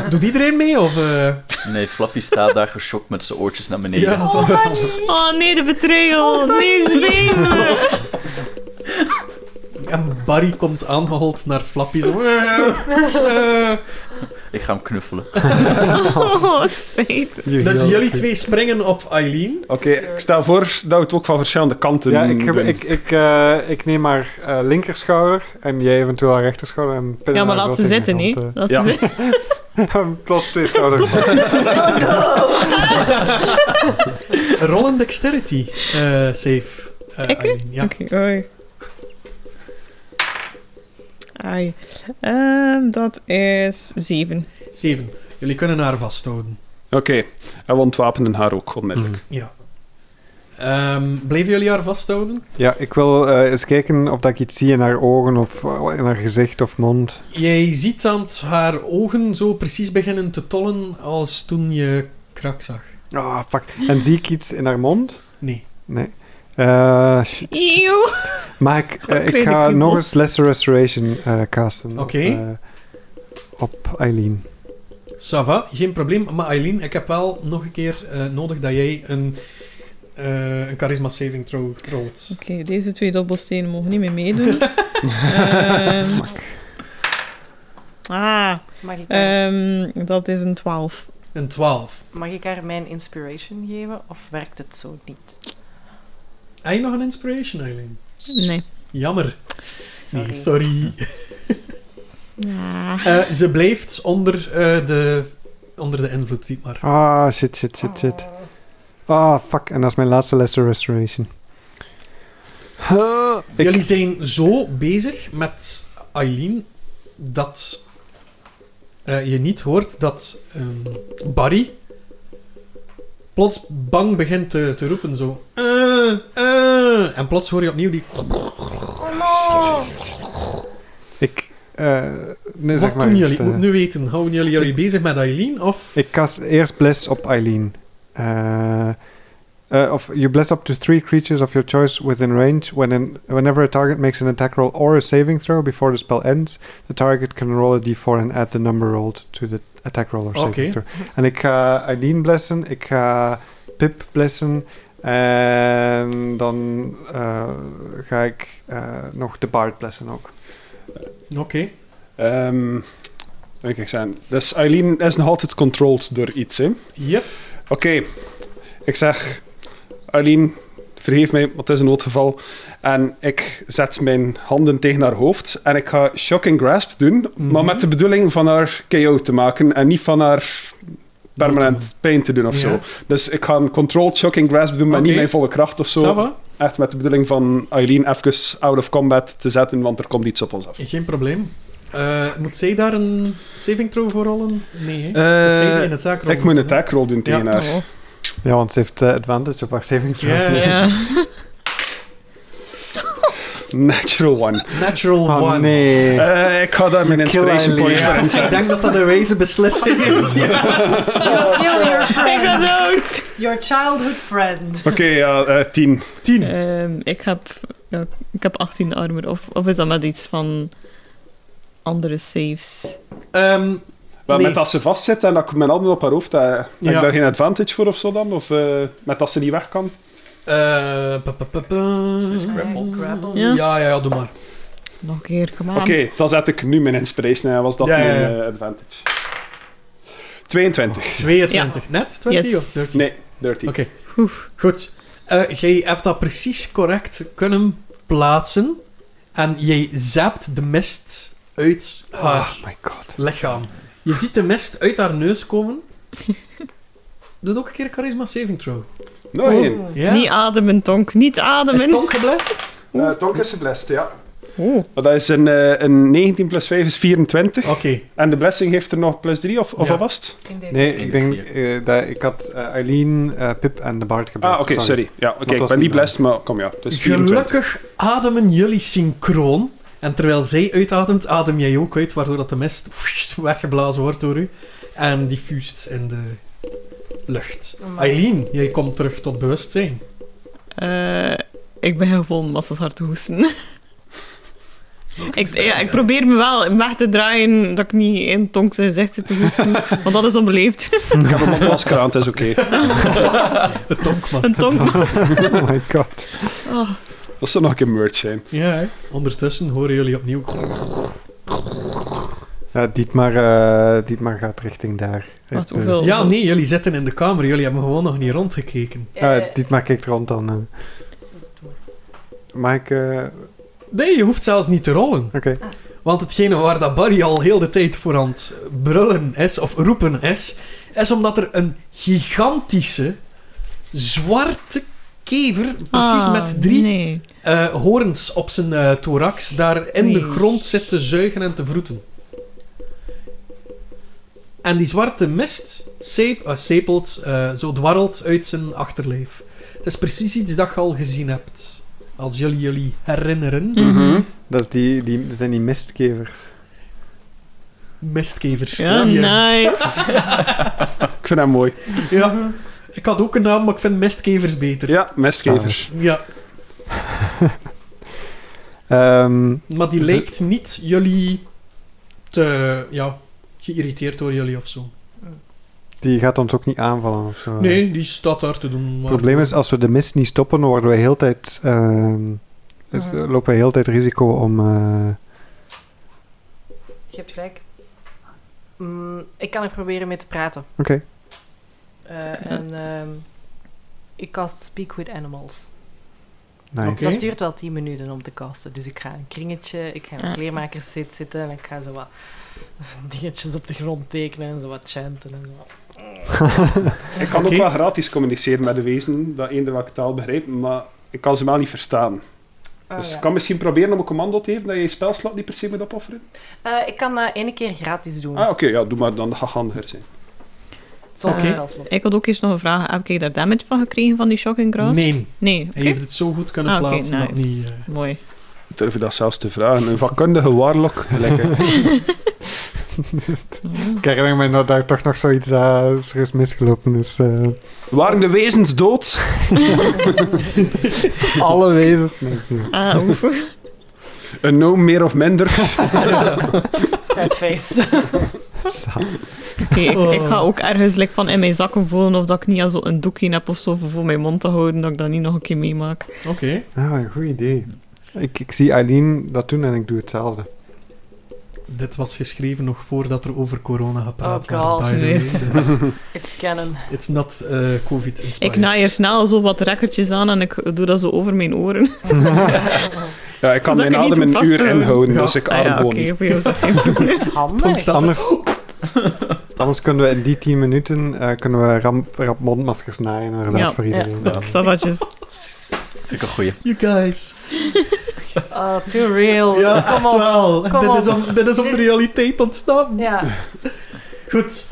A: Doet iedereen mee? Of, eh?
F: Nee, Flappy staat daar geschokt met zijn oortjes naar beneden.
A: Ja, zo.
E: Oh nee, de betrayal! Nee, zweem me!
A: En Barry komt aangehold naar Flappy. Zo. Eh, eh.
F: Ik ga hem knuffelen.
E: Oh, het spijt.
A: Dus jullie twee springen op Eileen.
D: Oké, ik stel voor dat we het ook van verschillende kanten
B: Ja, ik,
D: doen.
B: ik, ik, eh, ik neem maar eh, linkerschouder en jij eventueel haar rechterschouder. En pin
E: Ja,
B: haar
E: maar laat
B: wel
E: ze
B: tegen
E: zitten,
B: de [laughs]
E: hè.
B: grond,
E: Laat ze
D: ja.
E: zitten.
B: eh. Plus twee schouders. [laughs]
A: Roll een dexterity eh, save. eh,
E: Ik?
A: Eileen. Ja.
E: Oké, oei. Ai. Ehm, dat is 7.
A: Zeven. Jullie kunnen haar vasthouden.
D: Oké, en we ontwapenen haar ook onmiddellijk.
A: Ja. Ehm, bleven jullie haar vasthouden?
B: Ja, ik wil eh, eens kijken of dat ik iets zie in haar ogen of eh, in haar gezicht of mond.
A: Jij ziet dat haar ogen zo precies beginnen te tollen als toen je krak zag.
B: Ah, fuck. En zie ik iets in haar mond?
A: Nee.
B: Nee. Eh, shit.
E: Eeuw!
B: maar ik, eh, ik
E: Kreeg
B: ga
E: ik die
B: nog
E: bos.
B: eens Lesser Restoration eh, casten. op,
A: Oké.
B: eh, Op Eileen.
A: Sava, geen probleem. Maar Eileen, ik heb wel nog een keer eh, nodig dat jij een, eh, een charisma saving throw rolt.
E: Oké, deze twee dobbelstenen mogen niet meer meedoen. Ehm, ah,
C: Mag ik
E: Eh. ehm, dat is een 12.
A: Een 12.
C: Mag ik haar mijn inspiration geven of werkt het zo niet?
A: Heb je nog een inspiration, Eileen?
E: Nee.
A: Jammer.
C: Sorry.
A: Nee, sorry.
E: Ja.
A: Eh, ze blijft onder, eh, de, onder de invloed, niet maar.
B: Ah, shit, shit, shit, shit. Ah, fuck. En dat is mijn laatste lesser restoration. Ah, ik-
A: Jullie zijn zo bezig met Eileen dat eh, je niet hoort dat ehm, Barry plots bang begint te, te roepen. Zo. "Eh, eh." en plots hoor je opnieuw die.
B: Ik, eh, nee, zeg
A: Wat
B: maar
A: doen
B: eerst,
A: jullie? Ik
B: eh,
A: moet nu weten. Houden jullie jullie bezig met Eileen? Of
B: Ik cast eerst Bless op Eileen. Eh, eh, of you bless up to three creatures of your choice within range. When an, whenever a target makes an attack roll or a saving throw before the spell ends, the target can roll a d4 and add the number rolled to the attack roll or saving
A: Oké.
B: throw. En ik ga Eileen blessen, ik ga Pip blessen. En dan eh, ga ik eh, nog de Bard blessen ook.
A: oké.
D: Ehm kijk eens aan. Dus Eileen is nog altijd controlled door iets, hè?
A: Yep.
D: Oké, ik zeg... Eileen, vergeef mij, want het is een noodgeval. En ik zet mijn handen tegen haar hoofd en ik ga Shocking Grasp doen, maar
A: Mhm.
D: met de bedoeling van haar KO te maken en niet van haar
A: Dood
D: permanent pijn te doen of
A: Ja.
D: zo. Dus ik ga een controlled Shocking Grasp doen, maar
A: Oké.
D: niet mijn volle kracht of zo.
A: Ça va?
D: Echt met de bedoeling van Eileen even out of combat te zetten, want er komt iets op ons af.
A: Geen probleem. Eh, moet zij daar een saving throw voor rollen? Nee. hè?
B: Eh,
A: Dat is zij die in de taak
D: Eh, ik
A: rolt,
D: moet
A: hè?
D: een attack roll doen tegen
A: Ja.
D: haar.
E: Oh.
B: Ja, want ze heeft eh, advantage op haar saving throw.
A: Ja.
E: Ja.
D: Natural one.
A: Natural
B: [laughs] Oh
A: one.
B: nee.
D: Eh, ik ga daar mijn
B: kill
D: inspiration
B: Eileen.
D: point voor
A: Ik
D: inzetten.
A: denk dat dat een wijze beslissing
B: [laughs]
A: is.
C: [laughs] Kill your
E: Ik
C: friend.
E: ga dood!
C: Your childhood friend.
D: Oké, ja, eh, tien.
A: Tien.
E: Ehm, ik, heb, ja, ik heb 18 armor. Of, of is dat met iets van andere saves?
A: Ehm,
D: Maar
A: Nee.
D: met als ze vastzit en dat ik mijn handen op haar hoofd, eh, heb
A: Ja.
D: ik daar geen advantage voor of zo dan? Of eh, met als ze niet weg kan?
A: eh, pa, pa, pa, pa.
F: Is het grappled?
C: Grappled.
E: Ja.
A: Ja, ja, ja, doe maar.
E: Nog een keer, kom aan.
D: Oké, dan zet ik nu mijn inspiration en was dat
A: Ja, ja,
D: mijn
A: ja.
D: eh, advantage. 22.
A: 22. Net 20
E: Yes.
A: of 30?
D: Nee, 13.
A: Oké. Goed. Eh, jij hebt dat precies correct kunnen plaatsen. En jij zapt de mist uit haar
B: Oh my god.
A: lichaam. Je ziet de mist uit haar neus
E: [laughs]
A: komen. Doe ook een keer charisma saving throw.
D: Nog één.
A: Ja?
E: Niet ademen, Tonk. Niet
A: Is
E: ademen.
A: Tonk geblest?
D: Eh, Tonk is de blessed, ja.
E: Oh.
D: Maar dat is een, eh, een 19 plus 5 is 24.
A: Oké.
D: En de blessing heeft er nog plus 3, of, of
A: Ja.
D: wat was het?
C: In dit-
B: Nee, ik
F: Eén
B: denk
F: keer
B: eh, dat ik had eh, Eileen, eh, Pip en de Bard geblest.
D: Ah, oké, sorry. Ja, oké,
B: dat
D: ik
B: was
D: ben niet
B: niet
D: blessed, maar kom ja. Dus 24.
A: Gelukkig ademen jullie synchroon. En terwijl zij uitademt, adem jij ook uit, waardoor dat de mist weggeblazen wordt door u. En die fuust in de lucht.
C: Amai.
A: Eileen, jij komt terug tot bewustzijn.
E: Eh, ik ben gewoon massas hard te hoesten. Ik, ja, ik probeer me wel weg te draaien dat ik niet in Tonk's gezicht zit te
A: [laughs]
E: hoesten. want dat is onbeleefd.
D: Ik heb hem op masker aan, het is oké.
A: Het donkmas.
E: Een Tonk.
B: [laughs] Oh my god.
E: Oh.
D: Dat zou nog een keer merch zijn.
A: Ja, hè. ondertussen horen jullie opnieuw.
B: Ja, Dietmar, eh, Dietmar gaat richting daar. eh, Hij
E: Wacht,
B: is beu.
E: hoeveel?
A: Ja, nee, jullie zitten in de kamer. Jullie hebben gewoon nog niet rondgekeken.
B: Ah,
C: Eh,
B: Dietmar kijkt rond dan. eh. Mag ik... eh,
A: Nee, je hoeft zelfs niet te rollen.
B: Oké.
A: Want hetgene waar dat Barry al heel de tijd voor aan het brullen is, of roepen is, is omdat er een gigantische zwarte kever, precies
E: Ah,
A: met drie
E: Nee.
A: eh, horens op zijn eh, thorax, daar in de
E: Oei.
A: grond zit te zuigen en te vroeten. En die zwarte mist seep, eh, sepelt, eh, zo dwarrelt uit zijn achterlijf. Het is precies iets dat je al gezien hebt. Als jullie jullie herinneren,
E: Mm.
B: Dat is die, die, dat zijn die mistkevers.
A: mistkevers.
E: Ja,
A: Die, eh,
E: nice.
D: Ik vind hem mooi.
A: Ja. Mhm. Ik had ook een naam, maar ik vind mestkevers beter.
D: Ja, mestgevers.
A: Ja,
B: Ehm,
A: maar die
B: Ze-
A: lijkt niet jullie te... Ja, geïrriteerd door jullie of zo.
B: die gaat ons ook niet aanvallen of zo.
A: Nee, die staat daar te doen.
B: Ah. Het
A: Maar...
B: probleem is, als we de mist niet stoppen, worden we heel tijd... ehm, is-
C: Mhm.
B: lopen we heel tijd risico om... eh,
C: Je hebt gelijk. Mm, ik kan er proberen mee te praten.
B: Oké.
C: Eh, En ehm, ik cast Speak with Animals.
B: Nice.
A: Oké.
C: Dat duurt wel 10 minuten om te casten. Dus ik ga een kringetje, ik ga in een
E: Ah.
C: kleermakerszit zitten en ik ga zo wat [laughs] dingetjes op de grond tekenen en zo wat chanten en zo.
D: Ik kan
A: Oké.
D: ook wel gratis communiceren met de wezen, dat eender welke taal begrijpt, maar ik kan ze wel niet verstaan.
C: Ah,
D: dus
C: ja.
D: ik kan misschien proberen om een commando te geven dat je je spelslot niet per se moet opofferen.
C: Eh, ik kan dat één keer gratis doen.
D: Ah, oké, ja, doe maar dan, dat gaat handiger zijn.
C: Zonder
A: oké.
C: spelslot.
E: Ik had ook eerst nog een vraag. Heb ik daar damage van gekregen van die shocking grass?
A: Nee,
E: Nee, oké.
A: hij heeft het zo goed kunnen
E: Ah, oké,
A: plaatsen dat
E: nice.
A: niet... eh, [laughs]
E: Mooi.
D: Ik durf je dat zelfs te vragen. Een vakkundige warlock, lekker.
B: Ik herinner me dat daar toch nog zoiets eh, is er is misgelopen is. eh,
D: [laughs] Waren de wezens dood?
B: alle wezens. Nee, is niet.
E: Ah,
A: Oh.
E: oef.
D: Een no meer of minder?
C: Sad [laughs] face.
B: Saai.
E: Oké, ik, ik ga ook ergens like, van in mijn zakken voelen of dat ik niet al zo een doekje heb of zo voor voor mijn mond te houden, dat ik dat niet nog een keer meemaak.
A: Oké.
B: Ah, een goed idee. Ik, ik zie Eileen dat doen en ik doe hetzelfde.
A: Dit was geschreven nog voordat er over corona gepraat
C: Oh
A: werd.
C: God.
A: by the way.
B: [laughs]
E: Yes.
A: Dus
C: It's canon.
A: it's not eh, COVID-inspired.
E: Ik naai er snel zo wat rekkertjes aan en ik doe dat zo over mijn oren.
D: Ja, ik kan
E: Dat
D: mijn
E: kan niet
D: adem een
E: vast
D: uur
E: houden.
D: inhouden,
A: Ja.
D: dus ik
E: [laughs] Ah
D: adem
E: ja,
D: gewoon
E: oké,
D: niet.
E: voor jou is dat geen probleem.
C: Handig.
A: Staat er-
B: Anders, anders kunnen we in die 10 minuten eh, kunnen we ram- rap mondmaskers naaien inderdaad
E: Ja.
B: voor iedereen.
E: Savatjes.
F: Vind ik een goeie.
A: You guys.
C: Ah, too
E: Oh,
C: real.
A: Ja,
C: Kom
A: echt
C: op.
A: wel.
C: Kom
A: Dit
C: op.
A: is, om, dit is om de
C: Dit-
A: realiteit ontstaan.
C: Ja.
A: Goed.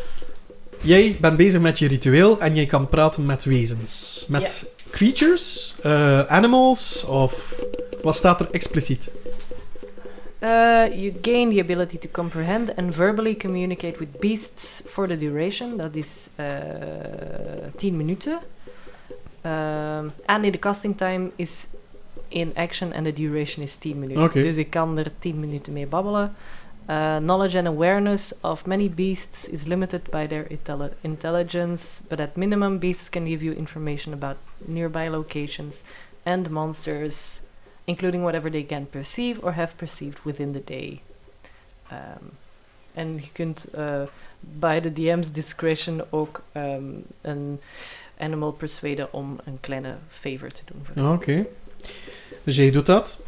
A: Jij bent bezig met je ritueel en jij kan praten met wezens. Met creatures, eh, animals of... Wat staat er expliciet?
C: Uh, you gain the ability to comprehend and verbally communicate with beasts for the duration. Dat is eh 10 minuten. Ehm, En in de casting time is in action en de duration is 10 minuten.
A: Oké.
C: Dus ik kan er 10 minuten mee babbelen. Eh, knowledge and awareness of many beasts is limited by their intelli- intelligence, but at minimum, beasts can give you information about nearby locations and monsters including whatever they can perceive or have perceived within the day. Ehm, en je kunt eh, bij de DM's discretion ook ehm, een animal persuaden om een kleine favor te doen. Voor
A: Ah, Oké. Dus jij doet dat.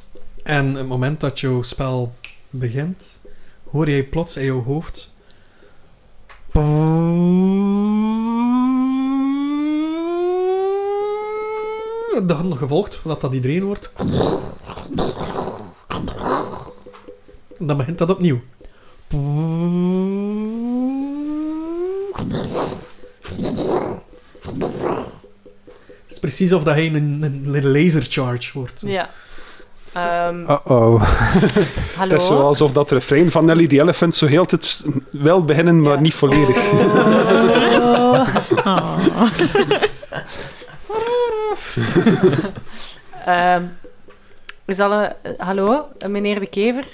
A: En op het moment dat jouw spel begint, hoor jij plots in jouw hoofd. Dan gevolgd, dat dat iedereen hoort. Dan begint dat opnieuw. Het is precies of dat hij een, een laser charge wordt.
C: Ja. Ehm,
B: Uh-oh.
C: Hallo?
D: Het is zo alsof Ah, dat refrein van Nelly the Elephant zo heel de tijd wel beginnen, maar
C: Ja.
D: niet volledig.
C: Oh. [laughs]
E: Ah.
C: Ehm, is dat een... eh, hallo, eh, meneer de kever?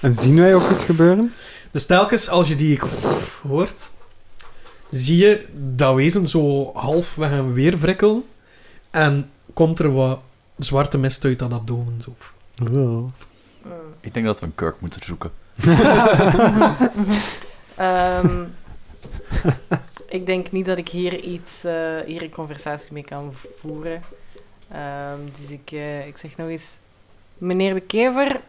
B: En zien wij ook iets gebeuren?
A: Dus telkens als je die hoort, zie je dat wezen zo half weg en weer wrikkelen. En komt er wat zwarte mist uit dat abdomen. Zo.
F: Ik denk dat we een kurk moeten zoeken.
C: Ehm, [laughs] ik denk niet dat ik hier iets, eh, hier een conversatie mee kan voeren. Ehm, dus ik, eh, ik zeg nog eens, meneer de Kever,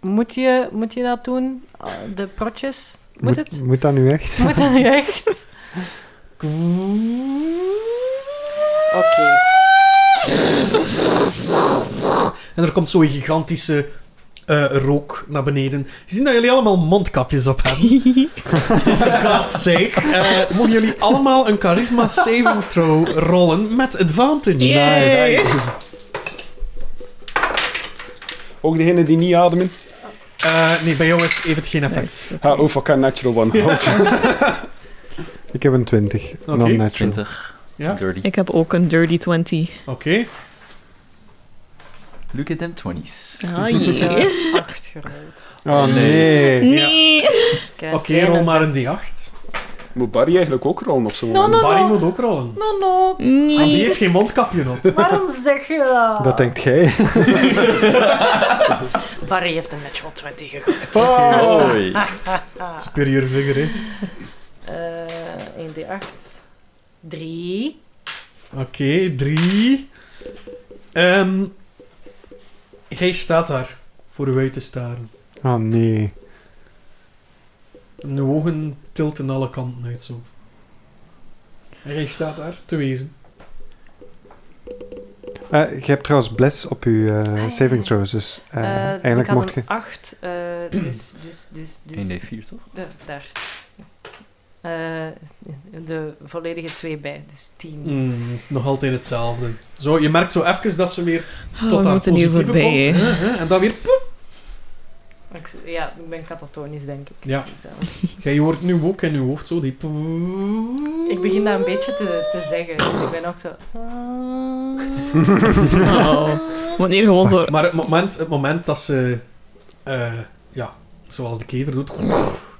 C: moet je, moet je dat doen? Ah, De protjes? Moet het? [laughs]
B: Moet dat nu echt?
C: Moet dat nu echt? Oké.
A: En er komt zo'n gigantische eh, rook naar beneden. Je ziet dat jullie allemaal mondkapjes op hebben. For God's sake. Eh, mogen jullie allemaal een charisma saving throw rollen met advantage?
E: Yay!
D: Ook degenen die niet ademen.
A: Eh, nee, bij jou is, heeft het geen effect.
E: Nice.
D: Ha, oh, fuck, een natural
E: [laughs]
D: one. Houd.
B: Ik heb een 20.
A: Oké.
B: Non-natural.
F: 20.
A: Ja.
F: Dirty.
E: Ik heb ook een dirty 20.
A: Oké.
F: Look at them 20s.
E: Ah,
A: [laughs]
E: jee.
C: Eh, acht gerold.
B: Oh nee.
E: Nee.
A: Ah,
C: Kijk,
A: Oké,
C: en
A: rol
C: een
A: maar een
C: zes.
A: D8.
D: Moet Barry eigenlijk ook rollen of zo?
C: No, no,
A: Barry
C: no.
A: moet ook rollen.
C: No, no.
A: Maar die
E: Nee.
A: heeft geen mondkapje op.
C: Waarom zeg je dat?
B: Dat denkt jij.
C: Barry heeft een natural 20 gegooid. Oh.
F: Oei.
A: Superior figure, hè?
C: Ah, Eh 1d8. 3.
A: Oké, drie. Ehm jij staat daar voor u uit te staren.
B: [laughs] Oh nee.
A: En uw ogen tilten alle kanten uit zo. En jij staat daar te wezen.
B: Eh, je hebt trouwens bless op je eh,
C: ja.
B: saving throws, dus eh, eigenlijk mocht je...
C: 8. eh, dus, dus, dus, dus.
F: 1d4 toch?
C: de- daar. Eh, de volledige 2 bij, dus 10.
A: Mm, nog altijd hetzelfde. Zo, je merkt zo even dat ze weer
E: Oh,
A: tot
E: we
A: haar
E: moeten hier
A: positieve
E: voorbij,
A: komt.
E: hè.
A: Huh, huh, En dan weer... poep.
C: Maar ik- Ja, ik ben catatonisch, denk ik.
A: Ja.
C: Dus, eh,
A: Jij hoort nu ook in uw hoofd zo die... poep.
C: ik begin dat een beetje te, te zeggen. Dus ik ben ook zo... "Ah."
A: [laughs]
E: Oh. Wanneer gewoon zo...
A: Maar het moment, het moment dat ze, eh, ja, zoals de kever doet,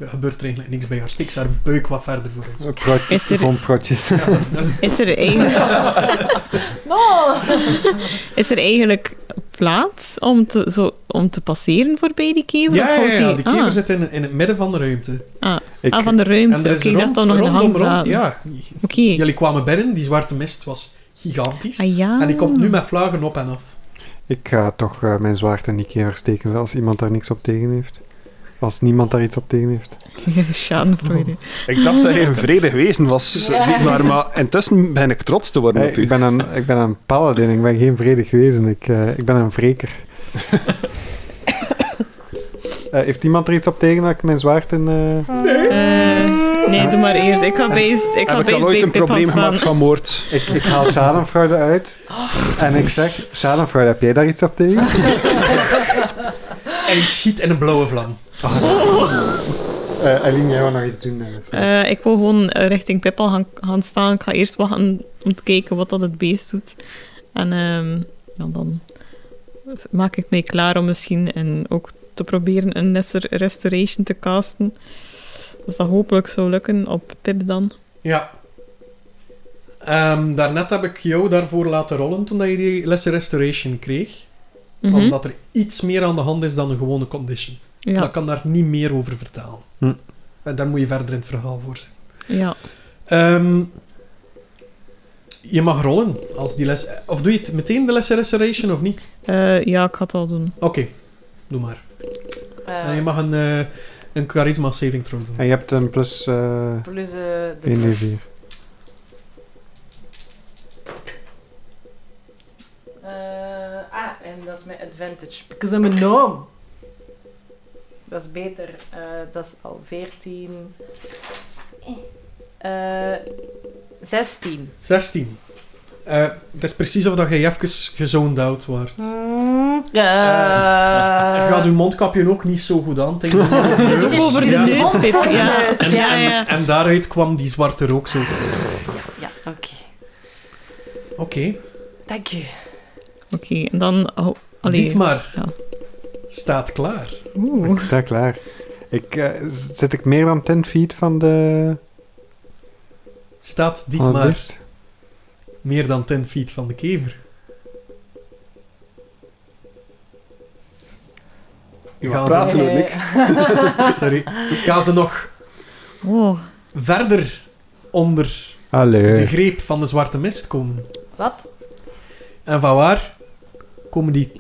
A: gebeurt er eigenlijk niks bij haar. Steekt ze haar buik wat verder vooruit.
B: Eh, protjes,
E: Is er-
B: gewoon protjes.
E: Is er, eigenlijk,
C: No!
E: is er eigenlijk plaats om te, zo, om te passeren voorbij die kever?
A: Ja, ja,
E: Of houdt
A: ja,
E: die-
A: die kever
E: ah,
A: zit in, in het midden van de ruimte.
B: Ik,
E: ah, van de
A: En
E: ruimte.
A: er
E: Oké,
A: is
E: ik dacht
A: rond,
E: dat we nog in de
A: rondom
E: hand
A: rond,
E: zaten.
A: ja.
E: Oké.
A: Jullie kwamen binnen, die zwarte mist was gigantisch.
E: Ah, ja.
A: En die
E: [laughs]
A: komt nu met vlagen op en af.
B: ik ga toch eh, mijn zwaard in die keer steken, als iemand daar niks op tegen heeft. Als niemand daar iets op tegen heeft.
E: Schadenfreude.
D: Ik dacht dat hij een vredig wezen was,
C: Ja.
D: niet maar, maar intussen ben ik trots te worden
B: Hey,
D: op u.
B: ik, ben een, ik ben een paladin, ik ben geen vredig wezen. Ik, eh, ik ben een [laughs] wreker. Eh, heeft iemand er iets op tegen dat ik mijn zwaard in... eh,
E: Eh, nee, doe maar eerst. Ik ga beest, ik ga
D: Heb ik
E: beest
D: al ooit
E: bij
D: een
E: Pip gaan
D: probleem gemaakt
E: staan.
D: van moord?
B: Ik, ik haal schadenfraude uit.
E: Oh.
B: En ik zeg, schadenfraude, heb jij daar iets op tegen?
A: En je schiet in een blauwe vlam.
B: [laughs] Eh Aline, jij wil nog iets doen. eh, sorry.
E: Eh, ik wil gewoon eh, richting Pip al gaan, gaan staan. Ik ga eerst wachten om te kijken wat dat het beest doet. En ehm, ja, dan maak ik mij klaar om misschien en ook te proberen een Nesser Restoration te casten. Als dat hopelijk zou lukken op Pip dan.
A: Ja. Ehm, daarnet heb ik jou daarvoor laten rollen toen dat je die lessen restoration kreeg.
E: Mhm.
A: Omdat er iets meer aan de hand is dan een gewone condition.
E: Ja,
A: Dat kan daar niet meer over vertalen.
B: Hm.
A: En daar moet je verder in het verhaal voor zijn.
E: ja.
A: Ehm, je mag rollen als die les. eh, Of doe je het meteen de les restoration of niet?
E: Eh, ja, ik ga het al doen.
A: Oké, doe maar.
C: Eh,
A: En je mag een, eh, een charisma saving throw doen.
B: En je hebt een plus... eh
C: plus eh, de
B: 1d4.
C: Eh, ah, en dat is mijn advantage. Because I'm a gnome. Dat is beter. Eh, dat is al 14. Eh, 16.
A: 16. Eh, het is precies of dat jij even gezoond out wordt.
E: Eh.
C: Eh,
A: Je gaat je mondkapje ook niet zo goed aan. [laughs] tegen de
E: Het is ook over de
A: Ja.
E: neus, Pip. Ja,
C: En-
E: ja,
A: En,
E: ja.
A: en daaruit kwam die zwarte rook zo. Oké.
C: Ja, oké. Dank je.
E: Oké, en dan... Oh, allee.
A: Dietmar
E: Ja.
A: staat klaar.
E: Oeh.
B: Ik sta klaar. Ik, eh, z- zit ik meer dan 10 feet van de...
A: Staat
B: van het
A: Dietmar
B: beest?
A: meer dan 10 feet van de kever? Gaan ze-
D: praten we,
C: Eh,
D: Nick?
A: sorry. Gaan ze nog
E: Oh.
A: verder onder de
B: Allee.
A: greep van de zwarte mist komen?
C: Wat?
A: En van waar komen die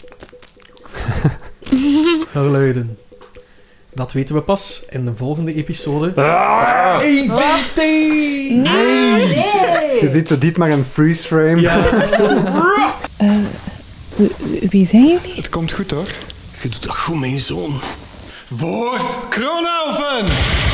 A: geluiden? Dat weten we pas in de volgende episode. EVT!
B: Je ziet zo Dietmar in freeze frame.
A: Ja, echt zo.
E: Wie zijn jullie?
G: Het komt goed hoor. Je doet dat goed, mijn zoon. Voor Kronelven!